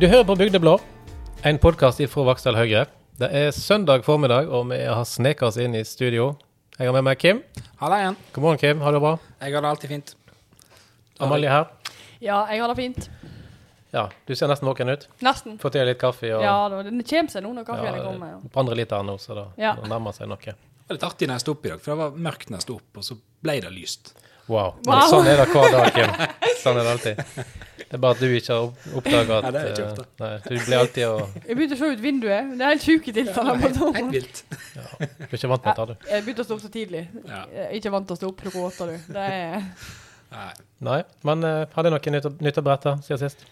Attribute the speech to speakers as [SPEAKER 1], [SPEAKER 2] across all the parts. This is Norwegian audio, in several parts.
[SPEAKER 1] Du hører på Bygdeblå, en podkast fra Vaksdal Høyre. Det er søndag formiddag, og vi har sneket oss inn i studio. Jeg har med meg Kim.
[SPEAKER 2] Halla igjen.
[SPEAKER 1] God morgen, Kim. Har du det bra?
[SPEAKER 2] Jeg har det alltid fint.
[SPEAKER 1] Amalie her.
[SPEAKER 3] Ja, jeg har det fint.
[SPEAKER 1] Ja, du ser nesten våken ut.
[SPEAKER 3] Nesten.
[SPEAKER 1] Fått i deg litt kaffe og
[SPEAKER 3] Ja, da, den kommer seg nå når kaffen
[SPEAKER 1] ja,
[SPEAKER 3] kommer. Ja.
[SPEAKER 1] et par andre liter her nå, så det
[SPEAKER 3] Ja.
[SPEAKER 1] det nærmer seg noe.
[SPEAKER 2] Det var litt artig når jeg sto opp i dag, for det var mørkt når jeg sto opp, og så ble det lyst.
[SPEAKER 1] Wow.
[SPEAKER 3] Wow.
[SPEAKER 1] Sånn er det hver dag, Kim. Sånn er det alltid. Det er bare at du ikke har oppdaga at
[SPEAKER 2] Nei, det er ikke ofte.
[SPEAKER 1] eh, Nei, du blir alltid å
[SPEAKER 3] Jeg begynte å se ut vinduet. Det er helt sjuke tilstander. på
[SPEAKER 2] helt,
[SPEAKER 3] toppen.
[SPEAKER 2] helt vilt.
[SPEAKER 1] Du er ikke vant med det, du.
[SPEAKER 3] Jeg begynte å stå opp så tidlig.
[SPEAKER 2] Ja.
[SPEAKER 3] Jeg er Ikke vant til å stå opp klokka åtte, du. Det er...
[SPEAKER 2] Nei.
[SPEAKER 1] Nei. Men eh, har du noe nytt å- nytt å berette siden sist?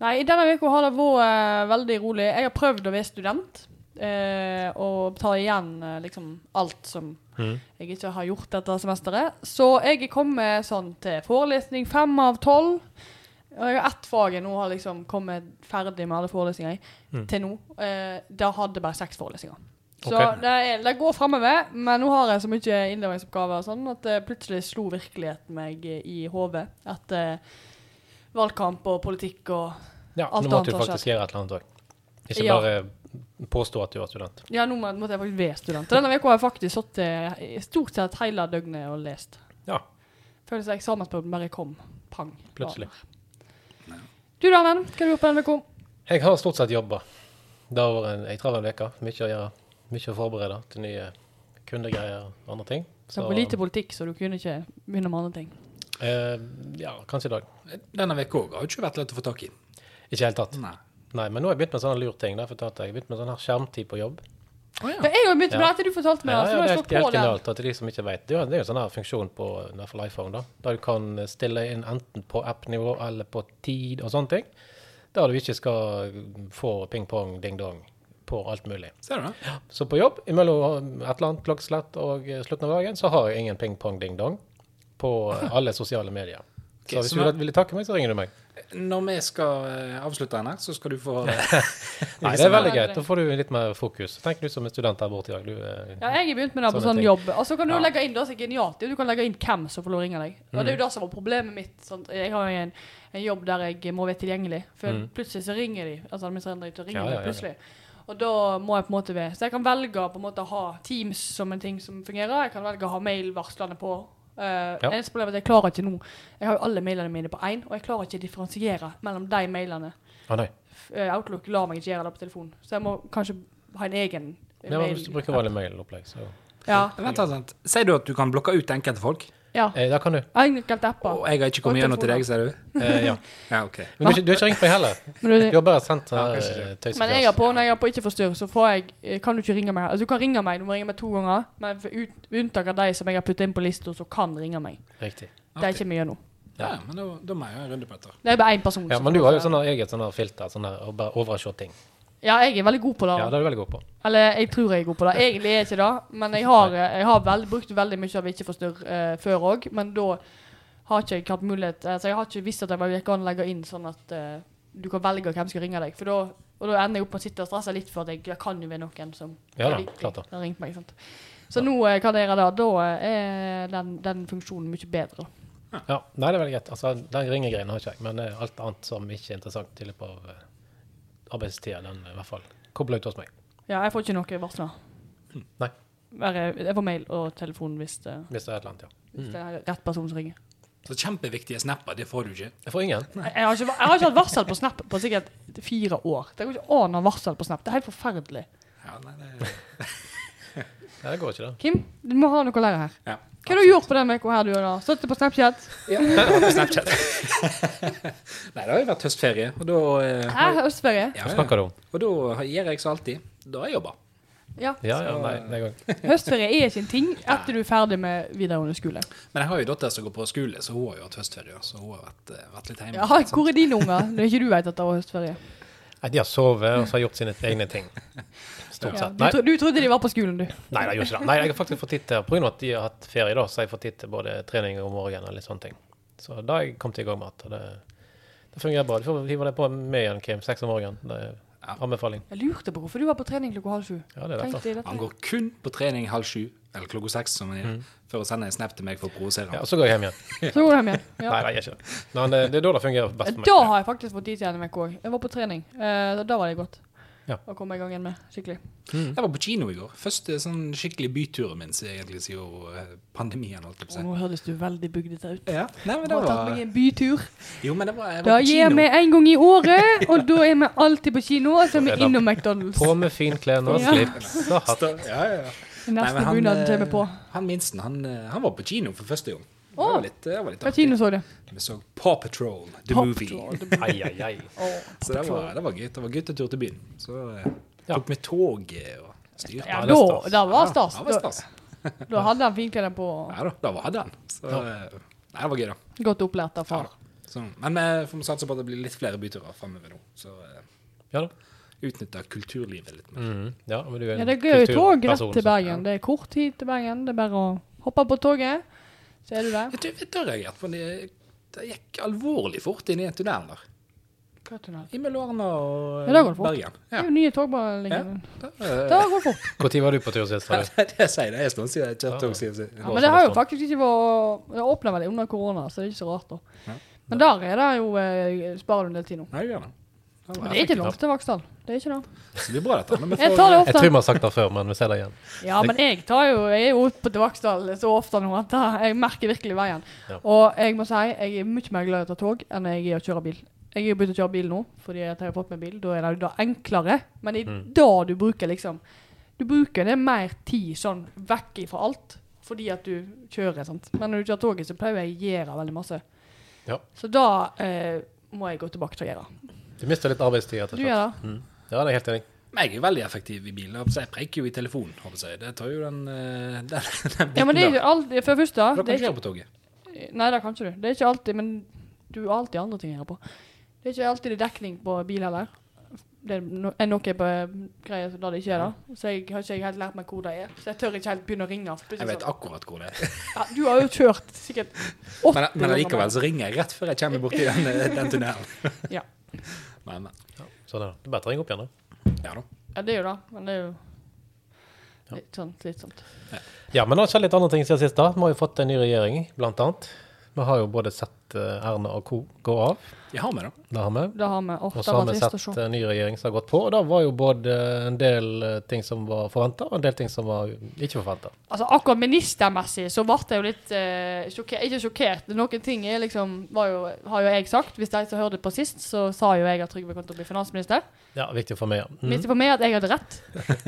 [SPEAKER 3] Nei, i denne uka har det vært eh, veldig rolig. Jeg har prøvd å være student. eh, og ta igjen eh, liksom alt som
[SPEAKER 1] Mhm.
[SPEAKER 3] jeg ikke har gjort dette semesteret. Så jeg er kommet sånn til forelesning fem av tolv. Og jeg har ett fag jeg nå har liksom kommet ferdig med alle forelesninger i,
[SPEAKER 1] Mhm.
[SPEAKER 3] til nå. Eh, da hadde jeg bare seks forelesninger. Så
[SPEAKER 1] Ok.
[SPEAKER 3] det, er, det går fremover, men nå har jeg så mye innlevingsoppgaver og sånn at eh, plutselig slo virkeligheten meg eh, i hodet etter valgkamp og politikk og
[SPEAKER 1] Ja,
[SPEAKER 3] Alt
[SPEAKER 1] nå måtte du
[SPEAKER 3] annet har
[SPEAKER 1] faktisk gjøre et eller annet òg. Ikke
[SPEAKER 3] Ja.
[SPEAKER 1] bare påstå at du var student.
[SPEAKER 3] Ja, nå må- måtte jeg faktisk være student. Og Denne uka har jeg faktisk sittet i stort sett hele døgnet og lest.
[SPEAKER 1] Ja.
[SPEAKER 3] Føles som eksamensperioden bare kom. Pang.
[SPEAKER 1] Plutselig.
[SPEAKER 3] Du da, men? Hva har du gjort på denne uka?
[SPEAKER 1] Jeg har stort sett jobba. Det har vært en- ei travel uke. Mye å gjøre. Mye å forberede til nye kundegreier og andre ting.
[SPEAKER 3] Det var lite politikk, så du kunne ikke begynne med andre ting.
[SPEAKER 1] eh, Ja, kanskje i dag.
[SPEAKER 2] Denne uka òg har jo ikke vært lett å få tak i.
[SPEAKER 1] Ikke i hele tatt.
[SPEAKER 2] Nei.
[SPEAKER 1] Nei, men nå har jeg begynt med sånne lur ting. Det har jeg fortalt deg. Jeg har begynt med sånn her skjermtid på jobb.
[SPEAKER 2] Å
[SPEAKER 3] Ja,
[SPEAKER 2] ja.
[SPEAKER 3] jeg har jo begynt med
[SPEAKER 1] Ja.
[SPEAKER 3] dette du fortalte meg,
[SPEAKER 1] Ja, ja, det
[SPEAKER 3] så nå har
[SPEAKER 1] er
[SPEAKER 3] jeg
[SPEAKER 1] helt,
[SPEAKER 3] slått på
[SPEAKER 1] helt
[SPEAKER 3] den.
[SPEAKER 1] genialt. og Til de som ikke vet. Det er jo- det er jo en sånn her funksjon på i hvert fall iPhone da, der du kan eh, stille inn enten på app-nivå eller på tid og sånne ting. Der du ikke skal få ping-pong, ding-dong på alt mulig.
[SPEAKER 2] Ser du det?
[SPEAKER 1] Så på jobb, mellom et eller annet klokkeslett og eh, slutten av dagen, så har jeg ingen ping-pong-ding-dong på eh, alle sosiale medier.
[SPEAKER 2] Ok,
[SPEAKER 1] Så hvis
[SPEAKER 2] så
[SPEAKER 1] du
[SPEAKER 2] nå-
[SPEAKER 1] vil- vil takke meg, så ringer du meg.
[SPEAKER 2] Når vi skal eh, avslutte denne, så skal du få
[SPEAKER 1] Nei, det er veldig greit. Da får du litt mer fokus. Tenk du som er student her borte i dag. Du, eh,
[SPEAKER 3] Ja, jeg har begynt med det på
[SPEAKER 1] Sånne
[SPEAKER 3] sånn
[SPEAKER 1] ting.
[SPEAKER 3] jobb. Og så kan du
[SPEAKER 1] Ja.
[SPEAKER 3] legge inn det som er genialt. det er jo Du kan legge inn hvem som får lov å ringe deg. Og det
[SPEAKER 1] Mm.
[SPEAKER 3] er jo det som var problemet mitt. Sånn, jeg har jo en, en jobb der jeg må være tilgjengelig. For plutselig så ringer de. Altså administrerende direktør ringer
[SPEAKER 1] Mm. Ja, ja, ja,
[SPEAKER 3] meg
[SPEAKER 1] ja.
[SPEAKER 3] plutselig. Og da må jeg på en måte være Så jeg kan velge på en måte å ha Teams som en ting som fungerer. Jeg kan velge å ha mailvarslene på. Eh,
[SPEAKER 1] Ja.
[SPEAKER 3] Eneste problem er at jeg klarer ikke nå Jeg har jo alle mailene mine på én, og jeg klarer ikke å differensiere mellom de mailene.
[SPEAKER 1] Å nei.
[SPEAKER 3] F- eh, Outlook lar meg ikke gjøre det på telefon, så jeg må kanskje ha en egen eh,
[SPEAKER 1] Det var hvis du bruker
[SPEAKER 3] mail.
[SPEAKER 1] vanlig mailopplegg, så
[SPEAKER 3] Ja.
[SPEAKER 2] Vent, vent, vent. Sier du at du kan blokke ut enkelte folk?
[SPEAKER 3] ja.
[SPEAKER 1] eh, Det kan du.
[SPEAKER 3] Enkelte apper.
[SPEAKER 2] Og jeg har ikke kommet
[SPEAKER 3] Og
[SPEAKER 2] gjennom til deg, sier du?
[SPEAKER 1] Eh, ja.
[SPEAKER 2] Ja, OK.
[SPEAKER 1] Men du, har ikke- du har ikke ringt meg heller.
[SPEAKER 3] Men, du,
[SPEAKER 1] Du har bare sendt
[SPEAKER 2] Ja,
[SPEAKER 1] sånn
[SPEAKER 2] kanskje
[SPEAKER 1] eh, tøysefjas.
[SPEAKER 3] men jeg har på, når jeg har på ikke forstyrr, så får jeg, eh, kan du ikke ringe meg. Altså, du kan ringe meg, du må ringe meg to ganger, men for ut, unntak av de som jeg har puttet inn på lista, som kan ringe meg.
[SPEAKER 1] Riktig.
[SPEAKER 3] Det er ikke mye nå.
[SPEAKER 2] Ja, men da, da må jeg ha en runde på dette.
[SPEAKER 3] Det er bare én person.
[SPEAKER 1] Ja,
[SPEAKER 3] som
[SPEAKER 1] men du
[SPEAKER 3] får
[SPEAKER 1] har jo
[SPEAKER 3] det.
[SPEAKER 1] sånn eget sånn her filter, sånn her, og bare overse ting.
[SPEAKER 3] Ja, jeg er veldig god på det.
[SPEAKER 1] Ja, det er du veldig god på.
[SPEAKER 3] Eller jeg tror jeg er god på det. Egentlig er jeg ikke det, men jeg har, eh, jeg har vel, brukt veldig mye av ikke forstyrr eh, før òg, men da har ikke jeg hatt mulighet altså, Jeg har ikke visst at jeg bare kan legge inn sånn at eh, du kan velge hvem som skal ringe deg. For da, og da ender jeg opp med å sitte og stresse litt for at jeg, jeg kan jo være noen som
[SPEAKER 1] Ja da,
[SPEAKER 3] Jeg liker-
[SPEAKER 1] klart det.
[SPEAKER 3] har ringt meg, sant? Så nå eh, kan dere da, da eh, er den, den funksjonen mye bedre.
[SPEAKER 1] Ja, nei, det er veldig greit. Altså, den ringegreien har ikke jeg, men eh, alt annet som ikke er interessant i løpet av eh, arbeidstida, den eh, i hvert fall kobler ut hos meg.
[SPEAKER 3] Ja, jeg får ikke noe varsler.
[SPEAKER 1] Nei.
[SPEAKER 3] Bare, jeg får mail og telefon hvis det,
[SPEAKER 1] Hvis det er et eller annet, ja.
[SPEAKER 3] hvis det er rett person som ringer.
[SPEAKER 2] Så kjempeviktige snapper, det får du ikke.
[SPEAKER 1] Jeg får ingen.
[SPEAKER 3] Jeg, jeg, har ikke, jeg har ikke hatt varsel på Snap på sikkert fire år. Det går ikke an å ha varsel på Snap. Det er helt forferdelig.
[SPEAKER 2] Ja, nei, det
[SPEAKER 1] Nei, det går ikke, det.
[SPEAKER 3] Kim, du må ha noe å lære her.
[SPEAKER 2] ja.
[SPEAKER 3] Hva har du gjort på denne uka her, du da? Støtte på Snapchat?
[SPEAKER 2] Snapchat. nei, det har jo vært høstferie, og da eh,
[SPEAKER 3] Hæ, høstferie?
[SPEAKER 2] ja,
[SPEAKER 1] Hva
[SPEAKER 2] ja.
[SPEAKER 1] snakker du om?
[SPEAKER 2] Og da gjør jeg som alltid. Da har jeg jobba.
[SPEAKER 3] Ja.
[SPEAKER 1] Ja, ja, nei, det går ikke.
[SPEAKER 3] Høstferie er ikke en ting etter du er ferdig med videregående skole.
[SPEAKER 2] Men jeg har jo datter som går på skole, så hun har jo hatt høstferie. Så hun har vært, eh, vært litt hjemme.
[SPEAKER 3] Ja, hvor er dine unger når ikke du vet at det var høstferie?
[SPEAKER 1] Nei, de har sovet og så har gjort sine egne ting. Stort
[SPEAKER 3] Ja,
[SPEAKER 1] sett.
[SPEAKER 3] du,
[SPEAKER 1] Nei,
[SPEAKER 3] tro, du trodde de var på skolen, du.
[SPEAKER 1] nei, de gjør ikke det. Nei, jeg har faktisk fått tid til, på grunn av at de har hatt ferie, da, så har jeg fått tid til både trening om morgenen og litt sånne ting. Så da har jeg kommet i gang med at det, det fungerer bra. Du får hive deg på med igjen, Kim, seks om morgenen. Det,
[SPEAKER 2] Ja.
[SPEAKER 1] Anbefaling.
[SPEAKER 3] Jeg lurte på hvorfor du var på trening klokka halv sju.
[SPEAKER 1] Ja, det er
[SPEAKER 3] Tenkte
[SPEAKER 1] derfor.
[SPEAKER 3] jeg
[SPEAKER 2] Han
[SPEAKER 3] dette.
[SPEAKER 2] går kun på trening halv sju, eller klokka seks, som han gjør, for å sende en snap til meg for å provosere
[SPEAKER 1] Ja,
[SPEAKER 2] ham.
[SPEAKER 1] og så går jeg hjem igjen.
[SPEAKER 3] Så går du hjem igjen. Ja.
[SPEAKER 1] Nei, nei, jeg gjør ikke det. Men eh, det er da det fungerer best for
[SPEAKER 3] Da
[SPEAKER 1] meg.
[SPEAKER 3] har jeg faktisk fått tid til en uke òg. Jeg var på trening. Eh, da var det godt
[SPEAKER 1] Ja.
[SPEAKER 3] å komme i gang igjen med. Skikkelig.
[SPEAKER 2] Jeg var på kino i går. Første sånn skikkelig byturen min så egentlig siden eh, pandemien. holdt jeg på å si.
[SPEAKER 3] nå høres du veldig bygdete ut.
[SPEAKER 2] Ja, nei, men
[SPEAKER 3] Jeg
[SPEAKER 2] det
[SPEAKER 3] har tatt
[SPEAKER 2] var,
[SPEAKER 3] meg en bytur.
[SPEAKER 2] jo, men det var, jeg
[SPEAKER 3] Da
[SPEAKER 2] var på
[SPEAKER 3] gir
[SPEAKER 2] kino.
[SPEAKER 3] vi en gang i året, og da er vi alltid på kino. Og så er vi
[SPEAKER 1] er det-
[SPEAKER 3] innom McDonald's.
[SPEAKER 1] På med finklærne og
[SPEAKER 3] Ja.
[SPEAKER 1] slips og hatt.
[SPEAKER 2] Ja, ja, ja. Nei, men
[SPEAKER 3] Neste
[SPEAKER 2] han,
[SPEAKER 3] bunaden
[SPEAKER 2] eh,
[SPEAKER 3] kommer på.
[SPEAKER 2] Han minsten, han, eh, han var på kino for første gang. Det
[SPEAKER 3] Åh.
[SPEAKER 2] var litt, det var litt
[SPEAKER 3] Hva
[SPEAKER 2] artig.
[SPEAKER 3] kino så du?
[SPEAKER 2] Vi så Paw Patrol, The
[SPEAKER 3] Paw
[SPEAKER 2] Movie.
[SPEAKER 3] Patrol,
[SPEAKER 1] Ai, ai, ai.
[SPEAKER 2] Så det var, det var gøy. Det var guttetur til byen. Så eh,
[SPEAKER 1] Ja.
[SPEAKER 2] tok vi toget og styrte.
[SPEAKER 1] Ja,
[SPEAKER 3] Ja,
[SPEAKER 1] det
[SPEAKER 3] da,
[SPEAKER 1] er stas.
[SPEAKER 3] da var
[SPEAKER 2] Ja,
[SPEAKER 3] stas.
[SPEAKER 2] det var
[SPEAKER 3] Da,
[SPEAKER 2] stas.
[SPEAKER 3] da hadde han finklærne på.
[SPEAKER 2] Ja da, da var- hadde han. Så eh, nei, det var gøy, da.
[SPEAKER 3] Godt opplært av far.
[SPEAKER 2] Så, men vi får satse på at det blir litt flere byturer framover nå. Så eh,
[SPEAKER 1] Ja da.
[SPEAKER 2] utnytte kulturlivet litt mer.
[SPEAKER 1] Mhm. Ja, men du er en
[SPEAKER 3] Ja, det går jo tog rett
[SPEAKER 1] kulturperson,
[SPEAKER 3] til
[SPEAKER 1] så-
[SPEAKER 3] Bergen. Det er kort tid til Bergen. Det er bare å hoppe på toget, så er du der.
[SPEAKER 2] Jeg tror jeg har reagert på det. Det gikk alvorlig fort inn i en tunnel der.
[SPEAKER 3] Hva tunnel?
[SPEAKER 2] Imellom Arna og
[SPEAKER 3] Ja, da går det
[SPEAKER 2] eh,
[SPEAKER 3] fort.
[SPEAKER 2] Bergen.
[SPEAKER 3] Det
[SPEAKER 2] Ja.
[SPEAKER 3] er jo nye togbanelinjer.
[SPEAKER 2] Eh,
[SPEAKER 3] Da går det fort.
[SPEAKER 1] Hvor tid var du på tur sist? Harry?
[SPEAKER 2] Nei, det sier det. Jeg står og sier det. Jeg tog, sier,
[SPEAKER 3] Ja,
[SPEAKER 2] sier.
[SPEAKER 1] går
[SPEAKER 3] men det
[SPEAKER 1] som
[SPEAKER 3] har
[SPEAKER 1] det
[SPEAKER 3] jo
[SPEAKER 1] står.
[SPEAKER 3] faktisk ikke vært Det åpna vel under korona, så det er ikke så rart, da.
[SPEAKER 2] Ja.
[SPEAKER 3] Men der er det jo eh, sparer du en del tid nå.
[SPEAKER 2] Nei, gjør det. Ja,
[SPEAKER 3] Men det er ikke langt til Vaksdal. Det er ikke det.
[SPEAKER 2] Så det blir bra, dette. Men vi
[SPEAKER 3] Jeg
[SPEAKER 2] får,
[SPEAKER 3] tar det
[SPEAKER 1] Jeg tror
[SPEAKER 3] ofte.
[SPEAKER 1] vi har sagt det før, men vi ser det igjen.
[SPEAKER 3] Ja, men jeg tar jo Jeg er jo oppe til Vaksdal så ofte nå at jeg merker virkelig veien.
[SPEAKER 1] Ja.
[SPEAKER 3] Og jeg må si jeg er mye mer glad i å ta tog enn jeg er å kjøre bil. Jeg har begynt å kjøre bil nå fordi at jeg har fått meg bil. Da er det jo da enklere. Men i
[SPEAKER 1] Mm.
[SPEAKER 3] da du bruker liksom Du bruker det mer tid sånn vekk ifra alt fordi at du kjører, sant. Men når du kjører toget, så pleier jeg å gjøre veldig masse.
[SPEAKER 1] Ja.
[SPEAKER 3] Så da eh, må jeg gå tilbake til å gjøre.
[SPEAKER 1] Du mister litt arbeidstid. rett og
[SPEAKER 3] Du
[SPEAKER 1] slett.
[SPEAKER 3] gjør det?
[SPEAKER 1] Ja, det er jeg helt enig.
[SPEAKER 2] Men jeg er jo veldig effektiv i bilen. altså, Jeg håper Jeg preiker jo i telefonen. håper Jeg. Det tar jo den, eh, den, den biten
[SPEAKER 3] Ja, men det er
[SPEAKER 2] der.
[SPEAKER 3] ikke alltid For det første
[SPEAKER 2] Da
[SPEAKER 3] det
[SPEAKER 2] kan
[SPEAKER 3] er
[SPEAKER 2] du
[SPEAKER 3] ikke,
[SPEAKER 2] kjøre på toget.
[SPEAKER 3] Nei, det kan ikke du. Det er ikke alltid, men du har alltid andre ting å gjøre på. Det er ikke alltid det er dekning på bil heller. Det er no- er noe på greier som da det ikke er det. Så jeg har ikke helt lært meg hvor det er. Så jeg tør ikke helt begynne å ringe.
[SPEAKER 2] Jeg vet
[SPEAKER 3] Sånn.
[SPEAKER 2] akkurat hvor det er.
[SPEAKER 3] Ja, du har jo kjørt sikkert
[SPEAKER 2] Men,
[SPEAKER 3] 80
[SPEAKER 2] men
[SPEAKER 3] ganger.
[SPEAKER 2] likevel så ringer jeg rett før jeg kommer borti den, eh, den tunnelen.
[SPEAKER 3] Ja.
[SPEAKER 2] Men, men,
[SPEAKER 1] Sånn er det. Det er bare å ringe opp igjen, da.
[SPEAKER 2] ja da.
[SPEAKER 3] Ja, det er jo det. Men det er jo litt sånn slitsomt.
[SPEAKER 1] Ja, men det har skjedd litt andre ting siden sist. da. Vi har jo fått en ny regjering, blant annet. Vi har jo både sett eh, Erna og co. gå av.
[SPEAKER 2] Jeg har med, da.
[SPEAKER 1] Det har vi.
[SPEAKER 3] Da har vi åh,
[SPEAKER 1] Og
[SPEAKER 3] det
[SPEAKER 1] så har
[SPEAKER 3] var
[SPEAKER 1] vi
[SPEAKER 3] trist å
[SPEAKER 1] sett
[SPEAKER 3] se.
[SPEAKER 1] en ny regjering som har gått på. Og da var jo både en del eh, ting som var forventa, og en del ting som var ikke forventa.
[SPEAKER 3] Altså, akkurat ministermessig så ble jeg jo litt eh, sjokkert. Ikke sjokkert. Noen ting er liksom, var jo, har jo jeg sagt. Hvis de som hørte på sist, så sa jo jeg at Trygve kom til å bli finansminister.
[SPEAKER 1] Ja, viktig for meg, ja. Mm.
[SPEAKER 3] Visste for meg at jeg hadde rett.